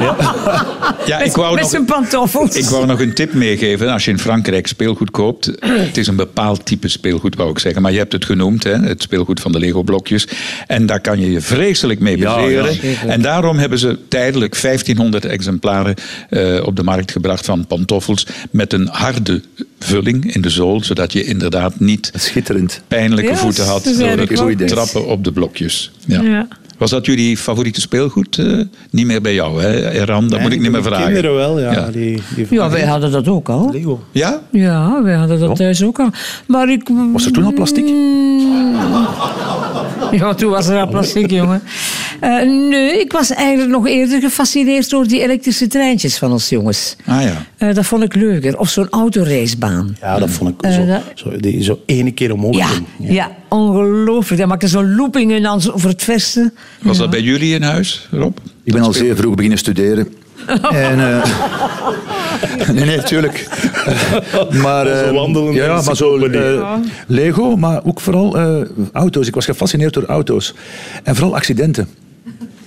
[SPEAKER 3] ik
[SPEAKER 5] Met,
[SPEAKER 3] wou
[SPEAKER 5] met
[SPEAKER 3] nog...
[SPEAKER 5] zijn pantoffels.
[SPEAKER 3] Ik wou nog een tip meegeven. Als je in Frankrijk speelgoed koopt, het is een bepaald type speelgoed, wou ik zeggen. Maar je hebt het genoemd, hè? het speelgoed van de Lego-blokjes. En daar kan je je vreselijk mee
[SPEAKER 4] Ja,
[SPEAKER 3] bezeren.
[SPEAKER 4] ja,
[SPEAKER 3] en daarom hebben ze tijdelijk 1500 exemplaren eh, op de markt gebracht van pantoffels met een harde vulling in de zool, zodat je inderdaad niet
[SPEAKER 4] Schitterend.
[SPEAKER 3] pijnlijke
[SPEAKER 5] Ja,
[SPEAKER 3] voeten had
[SPEAKER 5] ze zijn
[SPEAKER 3] door
[SPEAKER 5] er goed
[SPEAKER 3] het
[SPEAKER 5] in.
[SPEAKER 3] trappen op de blokjes. Ja.
[SPEAKER 5] Ja.
[SPEAKER 3] Was dat jullie favoriete speelgoed? Eh, niet meer bij jou, hè, Eran? Dat moet ik niet meer vragen.
[SPEAKER 6] Kinderen wel, ja.
[SPEAKER 3] Ja.
[SPEAKER 6] Die, die
[SPEAKER 5] Ja, wij hadden dat ook al.
[SPEAKER 6] Lego.
[SPEAKER 3] Ja?
[SPEAKER 5] Ja, wij hadden dat thuis ook al. Maar ik... Mm.
[SPEAKER 4] Was er toen al plastic?
[SPEAKER 5] Ja, toen was er al
[SPEAKER 4] *laughs*
[SPEAKER 5] plastic, jongen. Eh, nee, ik was eigenlijk nog eerder gefascineerd door die elektrische treintjes van ons jongens.
[SPEAKER 3] Ah ja.
[SPEAKER 5] Eh, dat vond ik leuker. Of zo'n autoracebaan.
[SPEAKER 6] Ja, dat vond ik
[SPEAKER 5] Eh,
[SPEAKER 6] zo,
[SPEAKER 5] dat-
[SPEAKER 6] zo, die, zo ene keer omhoog
[SPEAKER 5] Ja,
[SPEAKER 6] ging.
[SPEAKER 5] ja. ongelooflijk. Dan maakte zo'n looping en dan zo voor het verste.
[SPEAKER 3] Was dat bij jullie in huis, Rob?
[SPEAKER 4] Ik ben al zeer vroeg beginnen studeren. *laughs* En, eh, *laughs* nee, nee, *laughs* tuurlijk. maar,
[SPEAKER 6] Onze
[SPEAKER 4] eh,
[SPEAKER 6] wandelende
[SPEAKER 4] ja, ja, maar zo
[SPEAKER 6] encyclopedie.
[SPEAKER 4] eh, Lego, maar ook vooral eh, auto's. Ik was gefascineerd door auto's. En vooral accidenten.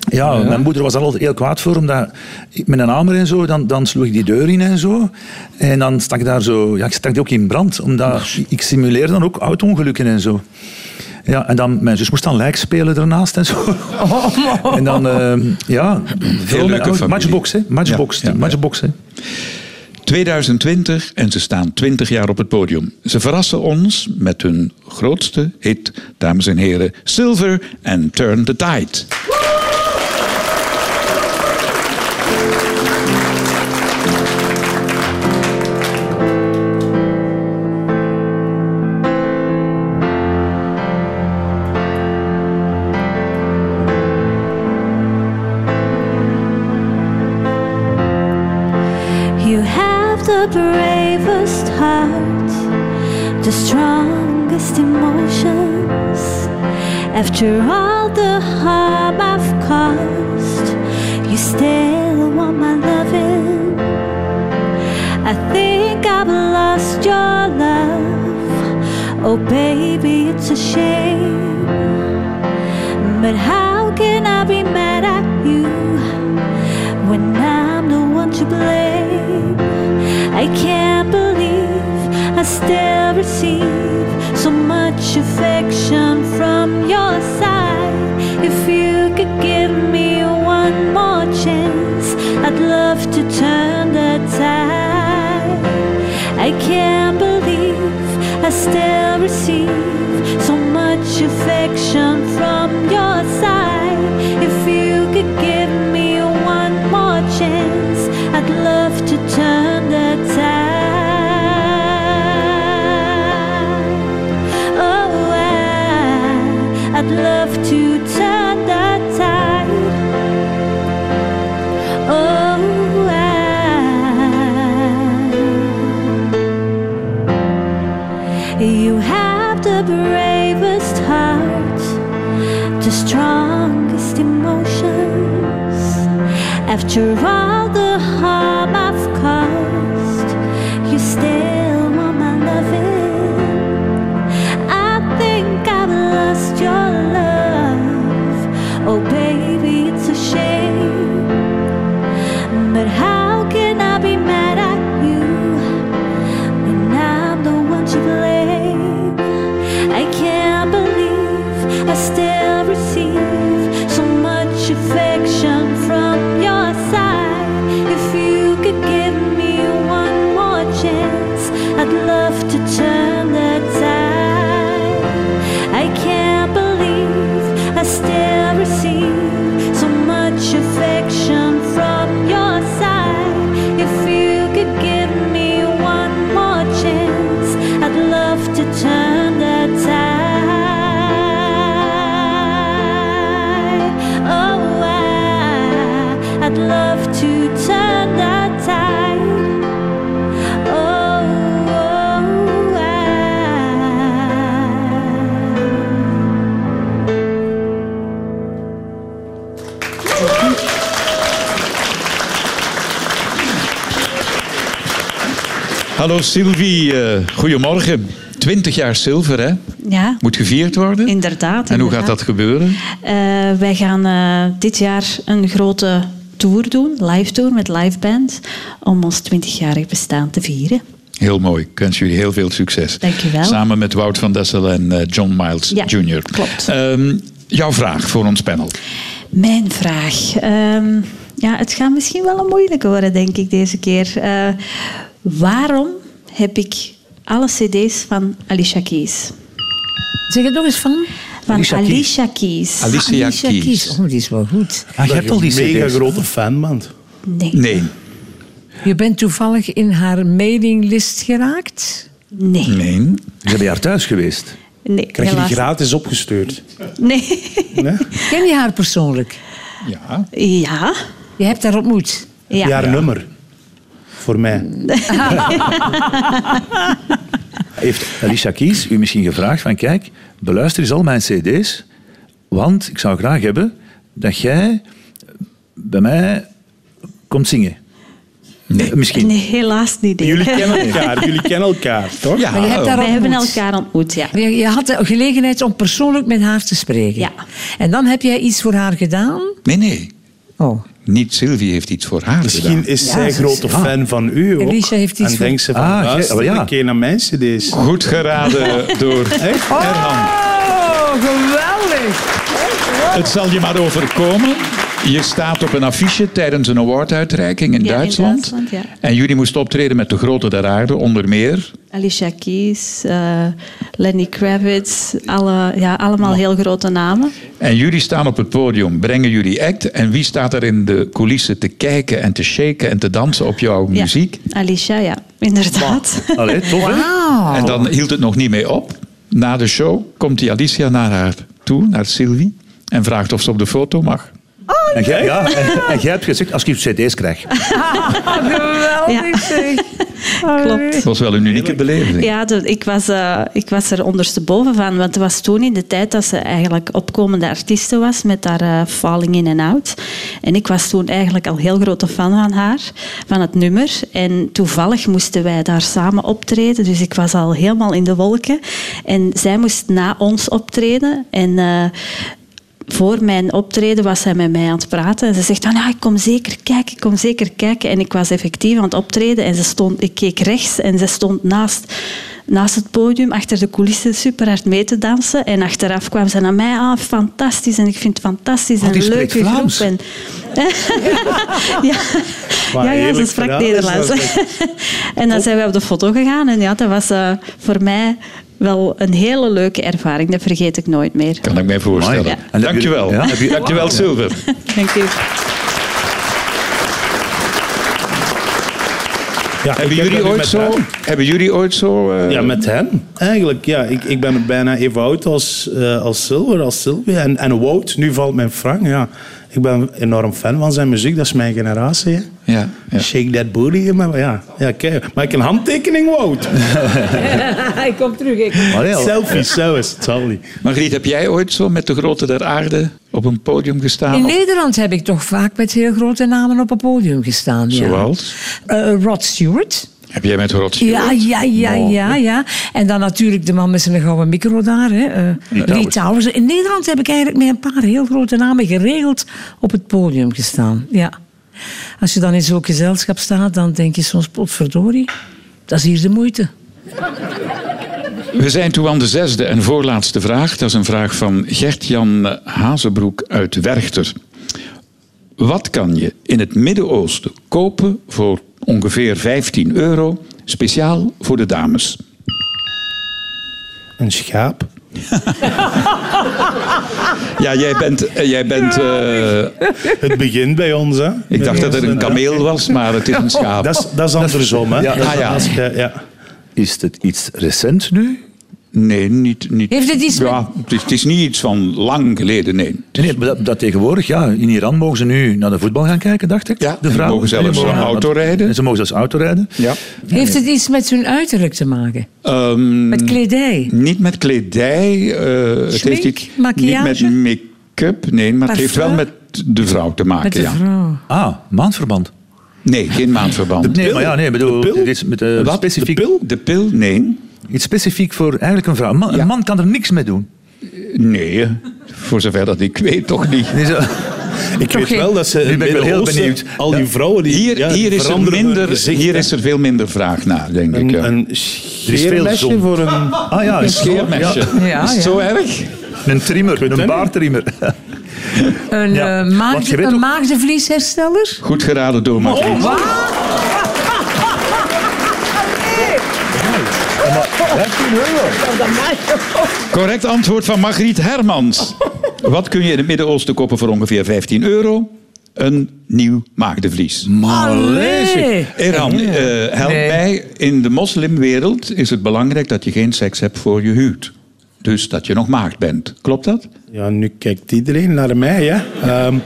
[SPEAKER 4] Ja, mijn moeder was daar altijd heel kwaad voor, omdat ik- met een hamer en zo, dan, dan sloeg ik die deur in en zo. En dan stak ik daar zo, ja, ik stak die ook in brand, omdat ik simuleer dan ook auto-ongelukken en zo. Ja, en dan, mijn zus moest dan lijk spelen daarnaast en zo.
[SPEAKER 5] *laughs*
[SPEAKER 4] en dan, eh, ja, veel oh,
[SPEAKER 3] leuke familie.
[SPEAKER 4] Matchbox, hè. Matchbox,
[SPEAKER 3] Ja, ja,
[SPEAKER 4] die
[SPEAKER 3] ja.
[SPEAKER 4] matchbox, hè.
[SPEAKER 3] 2020 en ze staan 20 jaar op het podium. Ze verrassen ons met hun grootste hit, dames en heren, Silver and Turn the Tide.
[SPEAKER 8] bravest heart, the strongest emotions. After all the harm I've caused, you still want my loving. I think I've lost your love. Oh, baby, it's a shame. But how can I be mad at you when I'm the one to blame? I can't believe I still receive so much affection from your side. If you could give me one more chance, I'd love to turn the tide. I can't believe I still receive so much affection from your side. If you could give me one more chance, I'd love to turn the tide. Oh, I, I'd love to turn the tide. Oh, I, you have the bravest heart, the strongest emotions. After all the harm I've caused, you still want my loving. I think I've lost your love. Oh, baby, it's a shame. But how can I be mad at you when I'm the one to blame? I can't believe I still receive so much affection from your side. If you could give me one more chance, I'd love to turn the tide. I can't believe I still receive so much affection from your side. If you could give me one more chance, I'd love to turn the tide. Oh, I, I'd love to turn the tide. Oh, oh, I.
[SPEAKER 3] Hallo Sylvie, eh, goedemorgen. 20 jaar zilver, hè?
[SPEAKER 9] Ja,
[SPEAKER 3] Moet gevierd worden.
[SPEAKER 9] inderdaad.
[SPEAKER 3] En hoe gaat
[SPEAKER 9] inderdaad.
[SPEAKER 3] dat gebeuren?
[SPEAKER 9] Eh, wij gaan eh, dit jaar een grote tour doen, live tour met live band, om ons 20-jarig bestaan te vieren.
[SPEAKER 3] Heel mooi. Ik wens jullie heel veel succes.
[SPEAKER 9] Dankjewel.
[SPEAKER 3] Samen met Wout van Dessel en eh, John Miles
[SPEAKER 9] Ja,
[SPEAKER 3] Jr.
[SPEAKER 9] klopt.
[SPEAKER 3] Ehm, jouw vraag voor ons panel.
[SPEAKER 9] Mijn vraag. ehm, ja, het gaat misschien wel een moeilijke worden, denk ik, deze keer. Eh, waarom heb ik alle cd's van Alicia Keys?
[SPEAKER 5] Zeg het nog eens van.
[SPEAKER 9] Van
[SPEAKER 4] Alicia
[SPEAKER 9] Alicia,
[SPEAKER 4] Keys.
[SPEAKER 9] Keys.
[SPEAKER 3] Alicia, Keys.
[SPEAKER 5] Oh, die is wel goed.
[SPEAKER 4] Ah, je hebt al die
[SPEAKER 6] een mega
[SPEAKER 4] cd's.
[SPEAKER 6] grote fan, man.
[SPEAKER 9] Nee.
[SPEAKER 3] Nee,
[SPEAKER 5] Je bent toevallig in haar mailinglist geraakt.
[SPEAKER 9] Nee. Nee.
[SPEAKER 3] nee.
[SPEAKER 4] Ze zijn bij haar thuis geweest.
[SPEAKER 6] Krijg je die
[SPEAKER 9] helaas.
[SPEAKER 6] gratis opgestuurd?
[SPEAKER 9] Nee.
[SPEAKER 6] Nee?
[SPEAKER 5] Ken je haar persoonlijk?
[SPEAKER 3] Ja.
[SPEAKER 9] Ja.
[SPEAKER 5] Je hebt haar ontmoet.
[SPEAKER 9] Ja.
[SPEAKER 6] Jaar nummer. Voor mij.
[SPEAKER 4] Heeft Alicia Keys u misschien gevraagd van kijk, beluister eens al mijn cd's, want ik zou graag hebben dat jij bij mij komt zingen. Nee. Misschien.
[SPEAKER 9] Nee, helaas niet. nee.
[SPEAKER 6] Jullie
[SPEAKER 5] *laughs*
[SPEAKER 6] kennen elkaar, jullie kennen elkaar, toch?
[SPEAKER 3] Ja. oh.
[SPEAKER 5] Maar je hebt haar
[SPEAKER 9] Wij hebben
[SPEAKER 5] ontmoet.
[SPEAKER 9] elkaar ontmoet, ja.
[SPEAKER 5] Je, je had de gelegenheid om persoonlijk met haar te spreken.
[SPEAKER 9] Ja.
[SPEAKER 5] En dan heb jij iets voor haar gedaan.
[SPEAKER 3] Nee, nee.
[SPEAKER 5] Oh.
[SPEAKER 3] Niet Sylvie heeft iets voor haar
[SPEAKER 6] Misschien is zij
[SPEAKER 5] ze
[SPEAKER 6] grote
[SPEAKER 5] is-
[SPEAKER 6] fan van u ook.
[SPEAKER 5] Alicia heeft iets
[SPEAKER 6] en
[SPEAKER 5] voor-
[SPEAKER 6] denkt ze van,
[SPEAKER 4] Ah, jij-
[SPEAKER 6] luister,
[SPEAKER 4] maar ja.
[SPEAKER 6] een keer naar mijn cd's.
[SPEAKER 3] gedaan. Goed geraden
[SPEAKER 9] *laughs*
[SPEAKER 3] door Erhan.
[SPEAKER 5] Oh, geweldig.
[SPEAKER 3] Het zal je maar overkomen. Je staat op een affiche tijdens een awarduitreiking in
[SPEAKER 9] Ja, in
[SPEAKER 3] Duitsland.
[SPEAKER 9] Duitsland, ja.
[SPEAKER 3] En jullie moesten optreden met de grote der aarde, onder meer.
[SPEAKER 9] Alicia Keys, eh, Lenny Kravitz, alle, ja, allemaal heel grote namen.
[SPEAKER 3] En jullie staan op het podium, brengen jullie act. En wie staat er in de coulissen te kijken en te shaken en te dansen op jouw
[SPEAKER 9] Ja.
[SPEAKER 3] muziek?
[SPEAKER 9] Alicia, ja, inderdaad.
[SPEAKER 4] Allee, tof hè?
[SPEAKER 9] Oh.
[SPEAKER 3] En dan hield het nog niet mee op. Na de show komt die Alicia naar haar toe, naar Sylvie. En vraagt of ze op de foto mag.
[SPEAKER 9] Oh
[SPEAKER 4] En jij, ja, en, en jij hebt gezegd, als ik cd's krijg.
[SPEAKER 9] Ja. Klopt.
[SPEAKER 3] Het was wel een unieke beleving.
[SPEAKER 9] Ja, de- ik, was, eh, ik was er ondersteboven van. Want het was toen in de tijd dat ze eigenlijk opkomende artiesten was met haar eh, Falling In and Out. En ik was toen eigenlijk al heel grote fan van haar, van het nummer. En toevallig moesten wij daar samen optreden. Dus ik was al helemaal in de wolken. En zij moest na ons optreden. En... eh, voor mijn optreden was zij met mij aan het praten. En ze zegt van, ja, ik kom zeker kijken, ik kom zeker kijken. En ik was effectief aan het optreden. En ze stond, ik keek rechts en ze stond naast, naast het podium, achter de coulissen, super hard mee te dansen. En achteraf kwam ze naar mij aan, fantastisch. En ik vind het fantastisch
[SPEAKER 4] Oh,
[SPEAKER 9] en
[SPEAKER 4] die
[SPEAKER 9] een
[SPEAKER 4] spreekt
[SPEAKER 9] leuke *laughs*
[SPEAKER 4] Vlaams.
[SPEAKER 9] groep. En, ja. ja,
[SPEAKER 6] Wat een
[SPEAKER 9] ja, ze
[SPEAKER 6] heerlijk
[SPEAKER 9] sprak
[SPEAKER 6] verhaal is
[SPEAKER 9] Nederlands.
[SPEAKER 6] dat,
[SPEAKER 9] *laughs* en dan zijn we op de foto gegaan. En ja, dat was eh, voor mij wel een hele leuke ervaring. Dat vergeet ik nooit meer.
[SPEAKER 3] Kan ik mij voorstellen.
[SPEAKER 9] Ja.
[SPEAKER 4] En heb
[SPEAKER 3] Dankjewel.
[SPEAKER 4] jullie- ja, heb je-
[SPEAKER 3] *laughs* Dankjewel, Silver.
[SPEAKER 9] Dank u.
[SPEAKER 6] Ja,
[SPEAKER 3] Hebben
[SPEAKER 6] ik heb dat
[SPEAKER 3] jullie,
[SPEAKER 6] nu
[SPEAKER 3] ooit
[SPEAKER 6] met
[SPEAKER 3] zo,
[SPEAKER 6] haar-
[SPEAKER 3] hebben jullie ooit zo... eh,
[SPEAKER 6] Ja, met hen. Eigenlijk, ja. Ik, ik ben bijna even oud als, eh, als Silver, als Sylvia. En, en Wout, nu valt mijn Frank, ja. Ik ben enorm fan van zijn muziek, dat is mijn generatie. hè.
[SPEAKER 3] ja, ja.
[SPEAKER 6] Shake that booty, maar ja. ja kijk, maak een handtekening, Wout.
[SPEAKER 5] ik kom terug. Ik.
[SPEAKER 4] Maar ja,
[SPEAKER 6] Selfies, zo is het, sorry.
[SPEAKER 3] Margriet, heb jij ooit zo met de grote der aarde op een podium gestaan?
[SPEAKER 5] In
[SPEAKER 3] Of-
[SPEAKER 5] Nederland heb ik toch vaak met heel grote namen op een podium gestaan. Ja.
[SPEAKER 3] Zoals?
[SPEAKER 5] Eh, Rod Stewart.
[SPEAKER 3] Heb jij met Rod Stewart?
[SPEAKER 5] Ja, ja, ja, ja, ja. En dan natuurlijk de man met zijn gouden micro daar. Hè. eh, Lee
[SPEAKER 4] Towers.
[SPEAKER 5] Towers. In Nederland heb ik eigenlijk met een paar heel grote namen geregeld op het podium gestaan. Ja. Als je dan in zo'n gezelschap staat, dan denk je soms, potverdorie, dat is hier de moeite.
[SPEAKER 3] We zijn toe aan de zesde en voorlaatste vraag. Dat is een vraag van Gert-Jan Hazebroek uit Werchter. Wat kan je in het Midden-Oosten kopen voor ongeveer 15 euro, speciaal voor de dames?
[SPEAKER 6] Een schaap.
[SPEAKER 3] Ja, jij bent... eh, jij bent eh,
[SPEAKER 6] Het begint bij ons, hè.
[SPEAKER 3] ik dacht dat er een kameel was, maar het is een schaap.
[SPEAKER 6] Dat is, dat is andersom, hè.
[SPEAKER 4] Ja,
[SPEAKER 6] Dat is-
[SPEAKER 3] ah, ja.
[SPEAKER 6] als je- ja.
[SPEAKER 4] Is het iets recent nu?
[SPEAKER 3] Nee, niet... niet
[SPEAKER 5] Heeft het iets met-
[SPEAKER 3] Ja, het is, het is niet iets van lang geleden, nee.
[SPEAKER 4] Nee, maar dat, dat tegenwoordig, ja. In Iran mogen ze nu naar de voetbal gaan kijken, dacht ik.
[SPEAKER 3] Ja,
[SPEAKER 4] de
[SPEAKER 3] en
[SPEAKER 4] vrouwen.
[SPEAKER 3] mogen zelfs
[SPEAKER 4] Ja,
[SPEAKER 3] een
[SPEAKER 4] want-
[SPEAKER 3] auto rijden.
[SPEAKER 4] en Ze mogen zelfs auto rijden.
[SPEAKER 3] Ja.
[SPEAKER 5] Heeft het iets met hun uiterlijk te maken?
[SPEAKER 3] Ehm,
[SPEAKER 5] Met kledij?
[SPEAKER 3] Niet met kledij. eh, het
[SPEAKER 5] Schmink,
[SPEAKER 3] heeft iets,
[SPEAKER 5] maquillage?
[SPEAKER 3] Niet met make-up, nee. Maar het heeft wel
[SPEAKER 5] Parfum?
[SPEAKER 3] met de vrouw te maken,
[SPEAKER 5] Met de
[SPEAKER 3] ja.
[SPEAKER 5] vrouw?
[SPEAKER 4] Ah, maandverband.
[SPEAKER 3] Nee, geen maandverband.
[SPEAKER 4] Nee, maar ja, nee, ik bedoel,
[SPEAKER 6] De pil?
[SPEAKER 4] dit is met, eh,
[SPEAKER 3] Wat?
[SPEAKER 4] specifiek,
[SPEAKER 3] De pil? De pil? Nee.
[SPEAKER 4] iets specifiek voor eigenlijk een vrouw. Een man, een
[SPEAKER 3] Ja.
[SPEAKER 4] man kan er niks mee doen.
[SPEAKER 3] Nee, eh, voor zover dat ik weet toch niet.
[SPEAKER 4] Nee, zo-
[SPEAKER 6] *laughs* Ik weet
[SPEAKER 5] geen-
[SPEAKER 6] wel dat ze...
[SPEAKER 4] Nu ben ik wel heel
[SPEAKER 6] Midden-Oosten,
[SPEAKER 4] benieuwd.
[SPEAKER 6] Al die vrouwen die...
[SPEAKER 3] Hier,
[SPEAKER 6] ja, die
[SPEAKER 3] hier, is, er
[SPEAKER 6] veranderen hun
[SPEAKER 3] minder,
[SPEAKER 6] gezicht,
[SPEAKER 3] hier
[SPEAKER 6] hè.
[SPEAKER 3] is er veel minder vraag naar, denk ik.
[SPEAKER 6] Een,
[SPEAKER 3] Ja.
[SPEAKER 6] een scheermesje
[SPEAKER 4] zon.
[SPEAKER 6] voor een...
[SPEAKER 4] ah ja, een
[SPEAKER 3] Scheermesje.
[SPEAKER 5] Ja,
[SPEAKER 3] is het
[SPEAKER 5] ja.
[SPEAKER 3] zo erg?
[SPEAKER 4] Een trimmer, een
[SPEAKER 6] het
[SPEAKER 4] baardtrimmer.
[SPEAKER 5] Een,
[SPEAKER 4] Ja,
[SPEAKER 5] eh,
[SPEAKER 4] want
[SPEAKER 5] maagde-
[SPEAKER 4] je weet
[SPEAKER 5] een
[SPEAKER 4] ook-
[SPEAKER 5] maagdenvlieshersteller?
[SPEAKER 3] Goed geraden door
[SPEAKER 6] Oh,
[SPEAKER 3] Margriet. Correct antwoord van Margriet Hermans. Wat kun je in het Midden-Oosten kopen voor ongeveer 15 euro? Een nieuw maagdenvlies.
[SPEAKER 5] Allee.
[SPEAKER 3] Iran, eh, help
[SPEAKER 5] Nee.
[SPEAKER 3] mij. In de moslimwereld is het belangrijk dat je geen seks hebt voor je huwt. Dus dat je nog maagd bent. Klopt dat?
[SPEAKER 6] Ja, nu kijkt iedereen naar mij, hè. Ehm,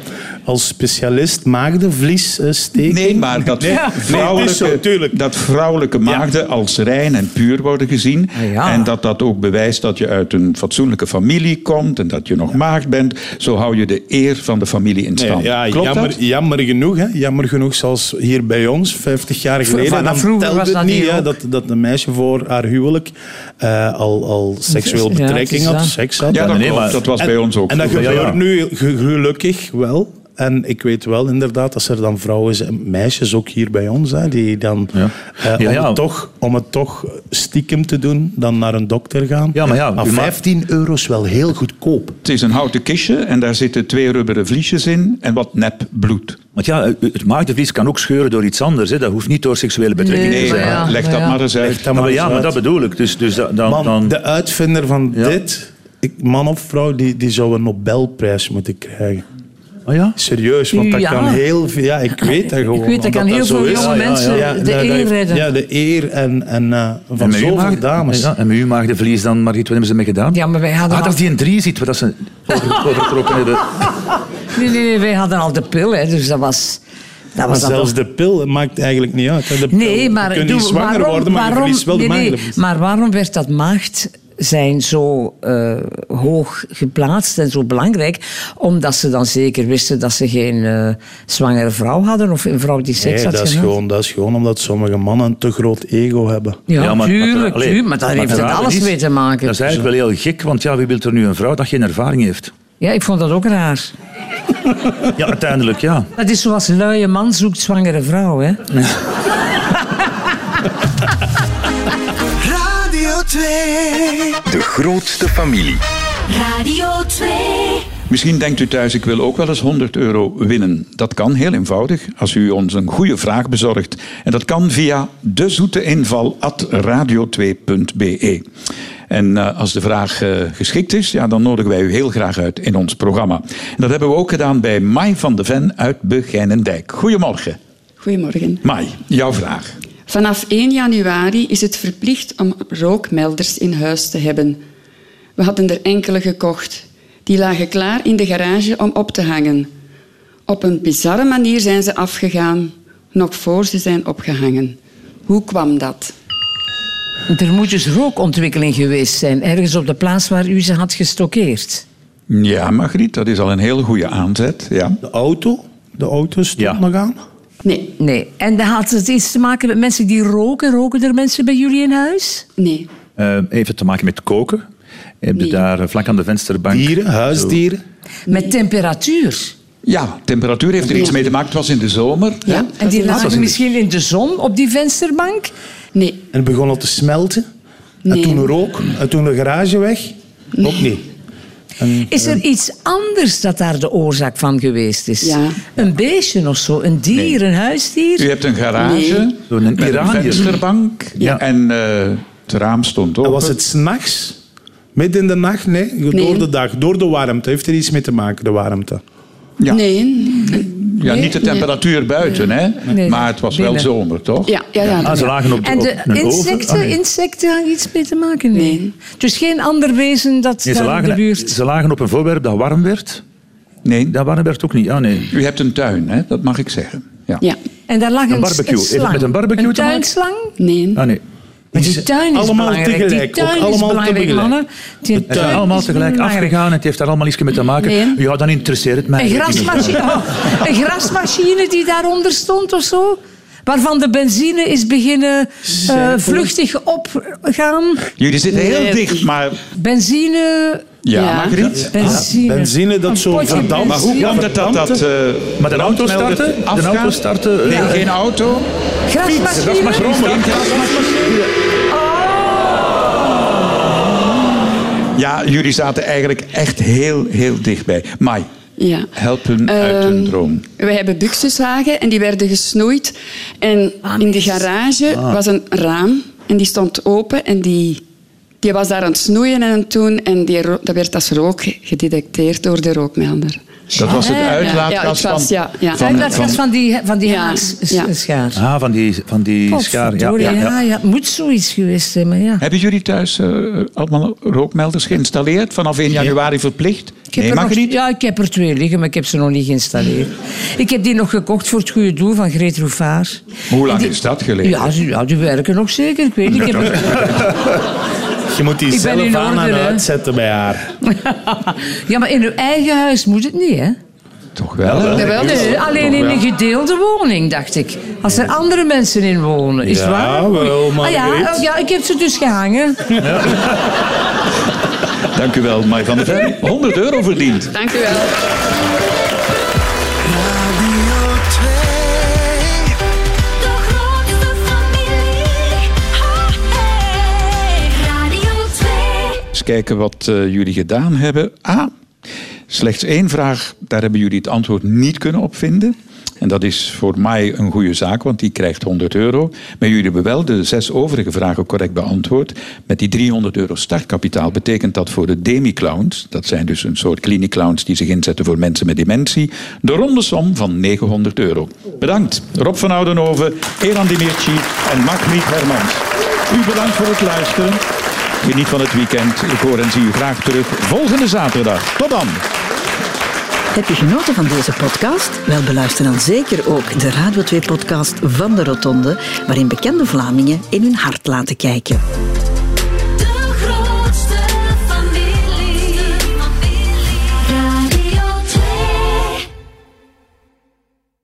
[SPEAKER 6] als specialist maagdenvlies eh, steken.
[SPEAKER 3] Nee, maar dat,
[SPEAKER 6] Nee, het is zo,
[SPEAKER 3] vrouwelijke,
[SPEAKER 6] tuurlijk.
[SPEAKER 3] dat vrouwelijke maagden als rein en puur worden gezien.
[SPEAKER 5] Ah, ja.
[SPEAKER 3] En dat dat ook bewijst dat je uit een fatsoenlijke familie komt en dat je nog maagd bent. Zo hou je de eer van de familie in
[SPEAKER 6] Nee,
[SPEAKER 3] stand.
[SPEAKER 6] ja,
[SPEAKER 3] Klopt
[SPEAKER 6] jammer,
[SPEAKER 3] dat?
[SPEAKER 6] jammer genoeg, hè. Jammer genoeg, zoals hier bij ons, 50 jaar geleden.
[SPEAKER 5] vanaf
[SPEAKER 6] dan
[SPEAKER 5] vroeger
[SPEAKER 6] telde
[SPEAKER 5] was
[SPEAKER 6] het
[SPEAKER 5] dat
[SPEAKER 6] niet,
[SPEAKER 5] hier
[SPEAKER 6] hè,
[SPEAKER 5] ook.
[SPEAKER 6] dat, dat een meisje voor haar huwelijk eh, al, al seksueel
[SPEAKER 5] Ja, het is
[SPEAKER 6] betrekking
[SPEAKER 5] waar.
[SPEAKER 6] had, seks had.
[SPEAKER 3] Ja,
[SPEAKER 6] En-
[SPEAKER 3] dat,
[SPEAKER 4] nee,
[SPEAKER 3] klopt.
[SPEAKER 4] maar-
[SPEAKER 3] dat was bij
[SPEAKER 6] en-
[SPEAKER 3] ons ook.
[SPEAKER 6] En dat
[SPEAKER 3] zo.
[SPEAKER 6] gebeurt
[SPEAKER 4] Ja, ja.
[SPEAKER 6] nu ge- gelukkig wel. En ik weet wel inderdaad dat er dan vrouwen zijn, meisjes ook hier bij ons, hè, die dan
[SPEAKER 4] Ja.
[SPEAKER 6] eh, om,
[SPEAKER 4] Ja, ja.
[SPEAKER 6] Het toch, om het toch stiekem te doen, dan naar een dokter gaan.
[SPEAKER 4] Ja, maar ja, u maakt-
[SPEAKER 6] 15 euro is wel heel goedkoop.
[SPEAKER 3] Het is een houten kistje en daar zitten twee rubberen vliesjes in en wat nep bloed.
[SPEAKER 4] Want ja, het maagdenvlies kan ook scheuren door iets anders. Hè. Dat hoeft niet door seksuele betrekking
[SPEAKER 5] Nee,
[SPEAKER 4] te
[SPEAKER 3] Nee,
[SPEAKER 4] zijn.
[SPEAKER 5] maar ja,
[SPEAKER 3] leg
[SPEAKER 5] maar
[SPEAKER 3] dat
[SPEAKER 5] ja.
[SPEAKER 3] maar eens uit.
[SPEAKER 6] Leg dat
[SPEAKER 4] Ja, maar, ja,
[SPEAKER 6] eens
[SPEAKER 4] maar
[SPEAKER 6] uit.
[SPEAKER 4] dat bedoel ik. Dus, dus da- dan,
[SPEAKER 6] Man,
[SPEAKER 4] dan,
[SPEAKER 6] de uitvinder van
[SPEAKER 4] Ja.
[SPEAKER 6] dit, ik, man of vrouw, die, die zou een Nobelprijs moeten krijgen.
[SPEAKER 4] Oh ja?
[SPEAKER 6] Serieus, want dat
[SPEAKER 5] Ja.
[SPEAKER 6] kan heel veel... Ja, ik weet dat gewoon.
[SPEAKER 5] Ik weet, dat kan heel
[SPEAKER 6] zo
[SPEAKER 5] veel
[SPEAKER 6] is.
[SPEAKER 5] jonge mensen de
[SPEAKER 6] dat-
[SPEAKER 5] eer
[SPEAKER 6] dat-
[SPEAKER 5] redden.
[SPEAKER 6] Ja, de eer en, en eh van
[SPEAKER 4] met uw
[SPEAKER 6] zoveel
[SPEAKER 4] maagd-
[SPEAKER 6] dames.
[SPEAKER 4] Ja, en met uw maagdenvlies dan, Margriet, wat hebben ze mee gedaan?
[SPEAKER 5] Ja, maar wij hadden
[SPEAKER 4] Ah, dat
[SPEAKER 5] al- *laughs*
[SPEAKER 4] die een drie ziet, wat dat ze over- overtrokken hebben.
[SPEAKER 5] Nee, nee, nee, wij hadden al de pil, hè, dus dat was... Dat
[SPEAKER 6] Maar
[SPEAKER 5] was al.
[SPEAKER 6] zelfs de pil maakt eigenlijk niet uit. hè. De pil-
[SPEAKER 5] Nee, maar
[SPEAKER 6] je kunt
[SPEAKER 5] doe-
[SPEAKER 6] niet zwanger
[SPEAKER 5] waarom,
[SPEAKER 6] worden, maar
[SPEAKER 5] waarom,
[SPEAKER 6] je verliest wel de
[SPEAKER 5] nee, nee,
[SPEAKER 6] maagdelijkheid.
[SPEAKER 5] Maar waarom werd dat maagd zijn zo eh, hoog geplaatst en zo belangrijk? Omdat ze dan zeker wisten dat ze geen eh, zwangere vrouw hadden of een vrouw die seks
[SPEAKER 6] Nee,
[SPEAKER 5] had
[SPEAKER 6] dat is,
[SPEAKER 5] gehad.
[SPEAKER 6] gewoon, dat is gewoon omdat sommige mannen een te groot ego hebben.
[SPEAKER 5] Ja,
[SPEAKER 4] Ja, maar- maar-
[SPEAKER 5] tuurlijk,
[SPEAKER 4] allee,
[SPEAKER 5] tuurlijk, maar daar
[SPEAKER 4] maar
[SPEAKER 5] heeft
[SPEAKER 4] het
[SPEAKER 5] het
[SPEAKER 4] rare
[SPEAKER 5] alles
[SPEAKER 4] is-
[SPEAKER 5] mee te maken.
[SPEAKER 4] Dat is eigenlijk wel heel gek, want ja, wie wil er nu een vrouw dat geen ervaring heeft?
[SPEAKER 5] Ja, ik vond dat ook raar.
[SPEAKER 4] Ja, uiteindelijk, ja.
[SPEAKER 5] Dat is zoals luie man zoekt zwangere vrouw, hè.
[SPEAKER 2] De grootste familie.
[SPEAKER 1] Radio 2.
[SPEAKER 3] Misschien denkt u thuis, ik wil ook wel eens 100 euro winnen. Dat kan heel eenvoudig als u ons een goede vraag bezorgt. En dat kan via dezoeteinval.radio2.be. En eh, als de vraag eh, geschikt is, ja, dan nodigen wij u heel graag uit in ons programma. En dat hebben we ook gedaan bij Mai van de Ven uit Begijnendijk. Goedemorgen.
[SPEAKER 10] Goedemorgen.
[SPEAKER 3] Mai, jouw vraag.
[SPEAKER 10] Vanaf 1 januari is het verplicht om rookmelders in huis te hebben. We hadden er enkele gekocht. Die lagen klaar in de garage om op te hangen. Op een bizarre manier zijn ze afgegaan, nog voor ze zijn opgehangen. Hoe kwam dat?
[SPEAKER 5] Er moet dus rookontwikkeling geweest zijn, ergens op de plaats waar u ze had gestockeerd.
[SPEAKER 3] Ja, Margriet, dat is al een hele goede aanzet. Ja.
[SPEAKER 6] De auto, de auto stond
[SPEAKER 4] Ja.
[SPEAKER 6] nog aan.
[SPEAKER 10] Nee,
[SPEAKER 5] Nee. En dat had het iets te maken met mensen die roken. Roken er mensen bij jullie in huis?
[SPEAKER 10] nee.
[SPEAKER 4] Eh, heeft het te maken met koken? Heb je
[SPEAKER 10] Nee.
[SPEAKER 4] daar eh, vlak aan de vensterbank...
[SPEAKER 6] Dieren, huisdieren.
[SPEAKER 5] Met temperatuur.
[SPEAKER 3] ja, temperatuur heeft er iets mee te maken. Het was in de zomer.
[SPEAKER 10] Ja,
[SPEAKER 5] En die
[SPEAKER 10] dat is-
[SPEAKER 4] was
[SPEAKER 5] lagen
[SPEAKER 4] in-
[SPEAKER 5] misschien in de zon op die vensterbank.
[SPEAKER 10] Nee,
[SPEAKER 6] En het begon al te smelten. En
[SPEAKER 10] Nee.
[SPEAKER 6] toen rook. En toen de garage weg. Ook niet.
[SPEAKER 5] Is er iets anders dat daar de oorzaak van geweest is?
[SPEAKER 10] Ja.
[SPEAKER 5] Een beestje of zo, een dier, een huisdier?
[SPEAKER 3] U hebt een garage,
[SPEAKER 10] Nee.
[SPEAKER 4] Zo'n
[SPEAKER 3] met een
[SPEAKER 4] Iranier.
[SPEAKER 3] vensterbank
[SPEAKER 4] Ja.
[SPEAKER 3] en eh, het raam stond
[SPEAKER 6] En
[SPEAKER 3] open.
[SPEAKER 6] was het s'nachts? Midden in de nacht? Nee, door de dag. Door de warmte. Heeft er iets mee te maken, de warmte.
[SPEAKER 3] Ja.
[SPEAKER 10] nee.
[SPEAKER 3] ja, niet de
[SPEAKER 10] nee.
[SPEAKER 3] temperatuur buiten, hè?
[SPEAKER 5] Nee.
[SPEAKER 3] maar het was wel
[SPEAKER 5] Binnen.
[SPEAKER 3] zomer, toch?
[SPEAKER 10] Ja, ja, ja.
[SPEAKER 4] Ah, ze
[SPEAKER 10] ja.
[SPEAKER 4] lagen op, de,
[SPEAKER 5] En de
[SPEAKER 4] op een
[SPEAKER 5] insecten,
[SPEAKER 4] oven. Ah, nee.
[SPEAKER 5] insecten hadden iets mee te maken? Nee.
[SPEAKER 10] Nee.
[SPEAKER 5] Dus geen ander wezen dat
[SPEAKER 4] Nee, ze,
[SPEAKER 5] daar in de
[SPEAKER 4] lagen,
[SPEAKER 5] buurt...
[SPEAKER 4] ze lagen op een voorwerp dat warm werd.
[SPEAKER 3] Nee,
[SPEAKER 4] Dat warm werd ook niet. Ah, nee.
[SPEAKER 3] u hebt een tuin, hè? dat mag ik zeggen. Ja.
[SPEAKER 10] Ja,
[SPEAKER 5] En daar lag een,
[SPEAKER 4] barbecue.
[SPEAKER 5] een
[SPEAKER 4] Heeft het
[SPEAKER 5] slang.
[SPEAKER 4] met een barbecue te maken?
[SPEAKER 5] tuinslang?
[SPEAKER 10] nee.
[SPEAKER 4] Ah, nee.
[SPEAKER 5] Maar die tuin is
[SPEAKER 6] allemaal
[SPEAKER 5] belangrijk.
[SPEAKER 6] tegelijk,
[SPEAKER 5] die
[SPEAKER 6] ook
[SPEAKER 5] tuin is
[SPEAKER 6] allemaal
[SPEAKER 5] belangrijk,
[SPEAKER 6] tegelijk.
[SPEAKER 5] mannen. Die
[SPEAKER 4] Het is
[SPEAKER 5] tuin
[SPEAKER 4] allemaal
[SPEAKER 5] is
[SPEAKER 4] tegelijk
[SPEAKER 5] belangrijk.
[SPEAKER 4] afgegaan. Het heeft daar allemaal iets mee te maken.
[SPEAKER 10] Nee.
[SPEAKER 4] Ja, dan interesseert het mij.
[SPEAKER 5] Een
[SPEAKER 4] eigenlijk niet.
[SPEAKER 5] grasmachine, oh,
[SPEAKER 4] *laughs*
[SPEAKER 5] een grasmachine die daaronder stond of zo? Waarvan de benzine is beginnen eh
[SPEAKER 6] Zijpelen.
[SPEAKER 5] vluchtig opgaan.
[SPEAKER 3] Jullie zitten heel dicht, maar...
[SPEAKER 5] Benzine,
[SPEAKER 3] Ja,
[SPEAKER 10] Ja.
[SPEAKER 3] Margriet?
[SPEAKER 5] benzine.
[SPEAKER 6] Benzine dat zo
[SPEAKER 5] potje
[SPEAKER 6] verdampt.
[SPEAKER 3] Maar hoe
[SPEAKER 5] Ja,
[SPEAKER 3] kwam het dat dat... eh
[SPEAKER 4] Maar de auto
[SPEAKER 3] brandmelder
[SPEAKER 4] starten? De
[SPEAKER 3] afgaat?
[SPEAKER 4] auto starten, eh,
[SPEAKER 3] Nee,
[SPEAKER 4] ja.
[SPEAKER 3] geen auto.
[SPEAKER 5] Grasmachine.
[SPEAKER 3] Ja, jullie zaten eigenlijk echt heel, heel dichtbij. Mai,
[SPEAKER 10] Ja.
[SPEAKER 3] help hun uit hun
[SPEAKER 10] Ehm,
[SPEAKER 3] droom.
[SPEAKER 10] Wij hebben buxuslagen en die werden gesnoeid. En in de garage was een raam en die stond open en die, die was daar aan het snoeien en aan het doen. En die, ro- dat werd als rook gedetecteerd door de rookmelder.
[SPEAKER 3] Dat was het
[SPEAKER 5] Ja, ja,
[SPEAKER 3] uitlaatgas
[SPEAKER 10] ja, ik was-
[SPEAKER 3] van,
[SPEAKER 10] ja, ja.
[SPEAKER 3] van,
[SPEAKER 5] Dat
[SPEAKER 3] van-
[SPEAKER 5] was van die, van die
[SPEAKER 10] Ja,
[SPEAKER 5] haars-
[SPEAKER 10] ja.
[SPEAKER 5] schaar.
[SPEAKER 4] Ah, van die, van die schaar. Ja,
[SPEAKER 5] Potverdorie,
[SPEAKER 4] ja, ja.
[SPEAKER 5] ja, ja. Moet zoiets geweest zijn, maar ja.
[SPEAKER 3] Hebben jullie thuis eh, allemaal rookmelders geïnstalleerd? Vanaf 1 januari verplicht?
[SPEAKER 5] Ik heb
[SPEAKER 3] Nee,
[SPEAKER 5] er
[SPEAKER 3] mag
[SPEAKER 5] nog-
[SPEAKER 3] niet.
[SPEAKER 5] Ja, ik heb er twee liggen, maar ik heb ze nog niet geïnstalleerd. ik heb die nog gekocht voor het goede doel van Greet Roefaar.
[SPEAKER 3] Hoe lang
[SPEAKER 5] En die-
[SPEAKER 3] is dat geleden?
[SPEAKER 5] Ja, ze- ja, die werken nog zeker. Ik weet niet. Ik heb
[SPEAKER 3] *laughs*
[SPEAKER 6] Je moet die
[SPEAKER 5] Ik ben
[SPEAKER 6] zelf
[SPEAKER 5] in
[SPEAKER 6] aan en
[SPEAKER 5] orde, hè.
[SPEAKER 6] uitzetten bij haar.
[SPEAKER 5] ja, maar in uw eigen huis moet het niet, hè?
[SPEAKER 3] Toch wel? hè?
[SPEAKER 10] Jawel,
[SPEAKER 5] Nee, alleen in een gedeelde woning, dacht ik. Als er andere mensen in wonen, is het
[SPEAKER 6] Ja,
[SPEAKER 5] waar?
[SPEAKER 6] wel,
[SPEAKER 5] ah, ja,
[SPEAKER 6] Margriet.
[SPEAKER 5] oh, ja, ik heb ze dus gehangen.
[SPEAKER 3] Dank u wel, Mike van der Ven. *laughs* 100 euro verdiend.
[SPEAKER 10] Dank u wel.
[SPEAKER 1] De grootste familie. Ha, hey. Radio 2.
[SPEAKER 3] Eens kijken wat eh, jullie gedaan hebben. Ah, slechts één vraag. Daar hebben jullie het antwoord niet kunnen opvinden. En dat is voor mij een goede zaak, want die krijgt 100 euro. Maar jullie hebben wel de zes overige vragen correct beantwoord. Met die 300 euro startkapitaal betekent dat voor de demiclowns, dat zijn dus een soort kliniclowns die zich inzetten voor mensen met dementie, de ronde som van 900 euro. Bedankt Rob van Oudenhoven, Eran Dimirci en Margriet Hermans. U bedankt voor het luisteren. Geniet van het weekend. Ik hoor en zie u graag terug volgende zaterdag. Tot dan.
[SPEAKER 11] Heb je genoten van deze podcast? Wel, beluister dan zeker ook de Radio 2-podcast van de Rotonde, waarin bekende Vlamingen in hun hart laten kijken.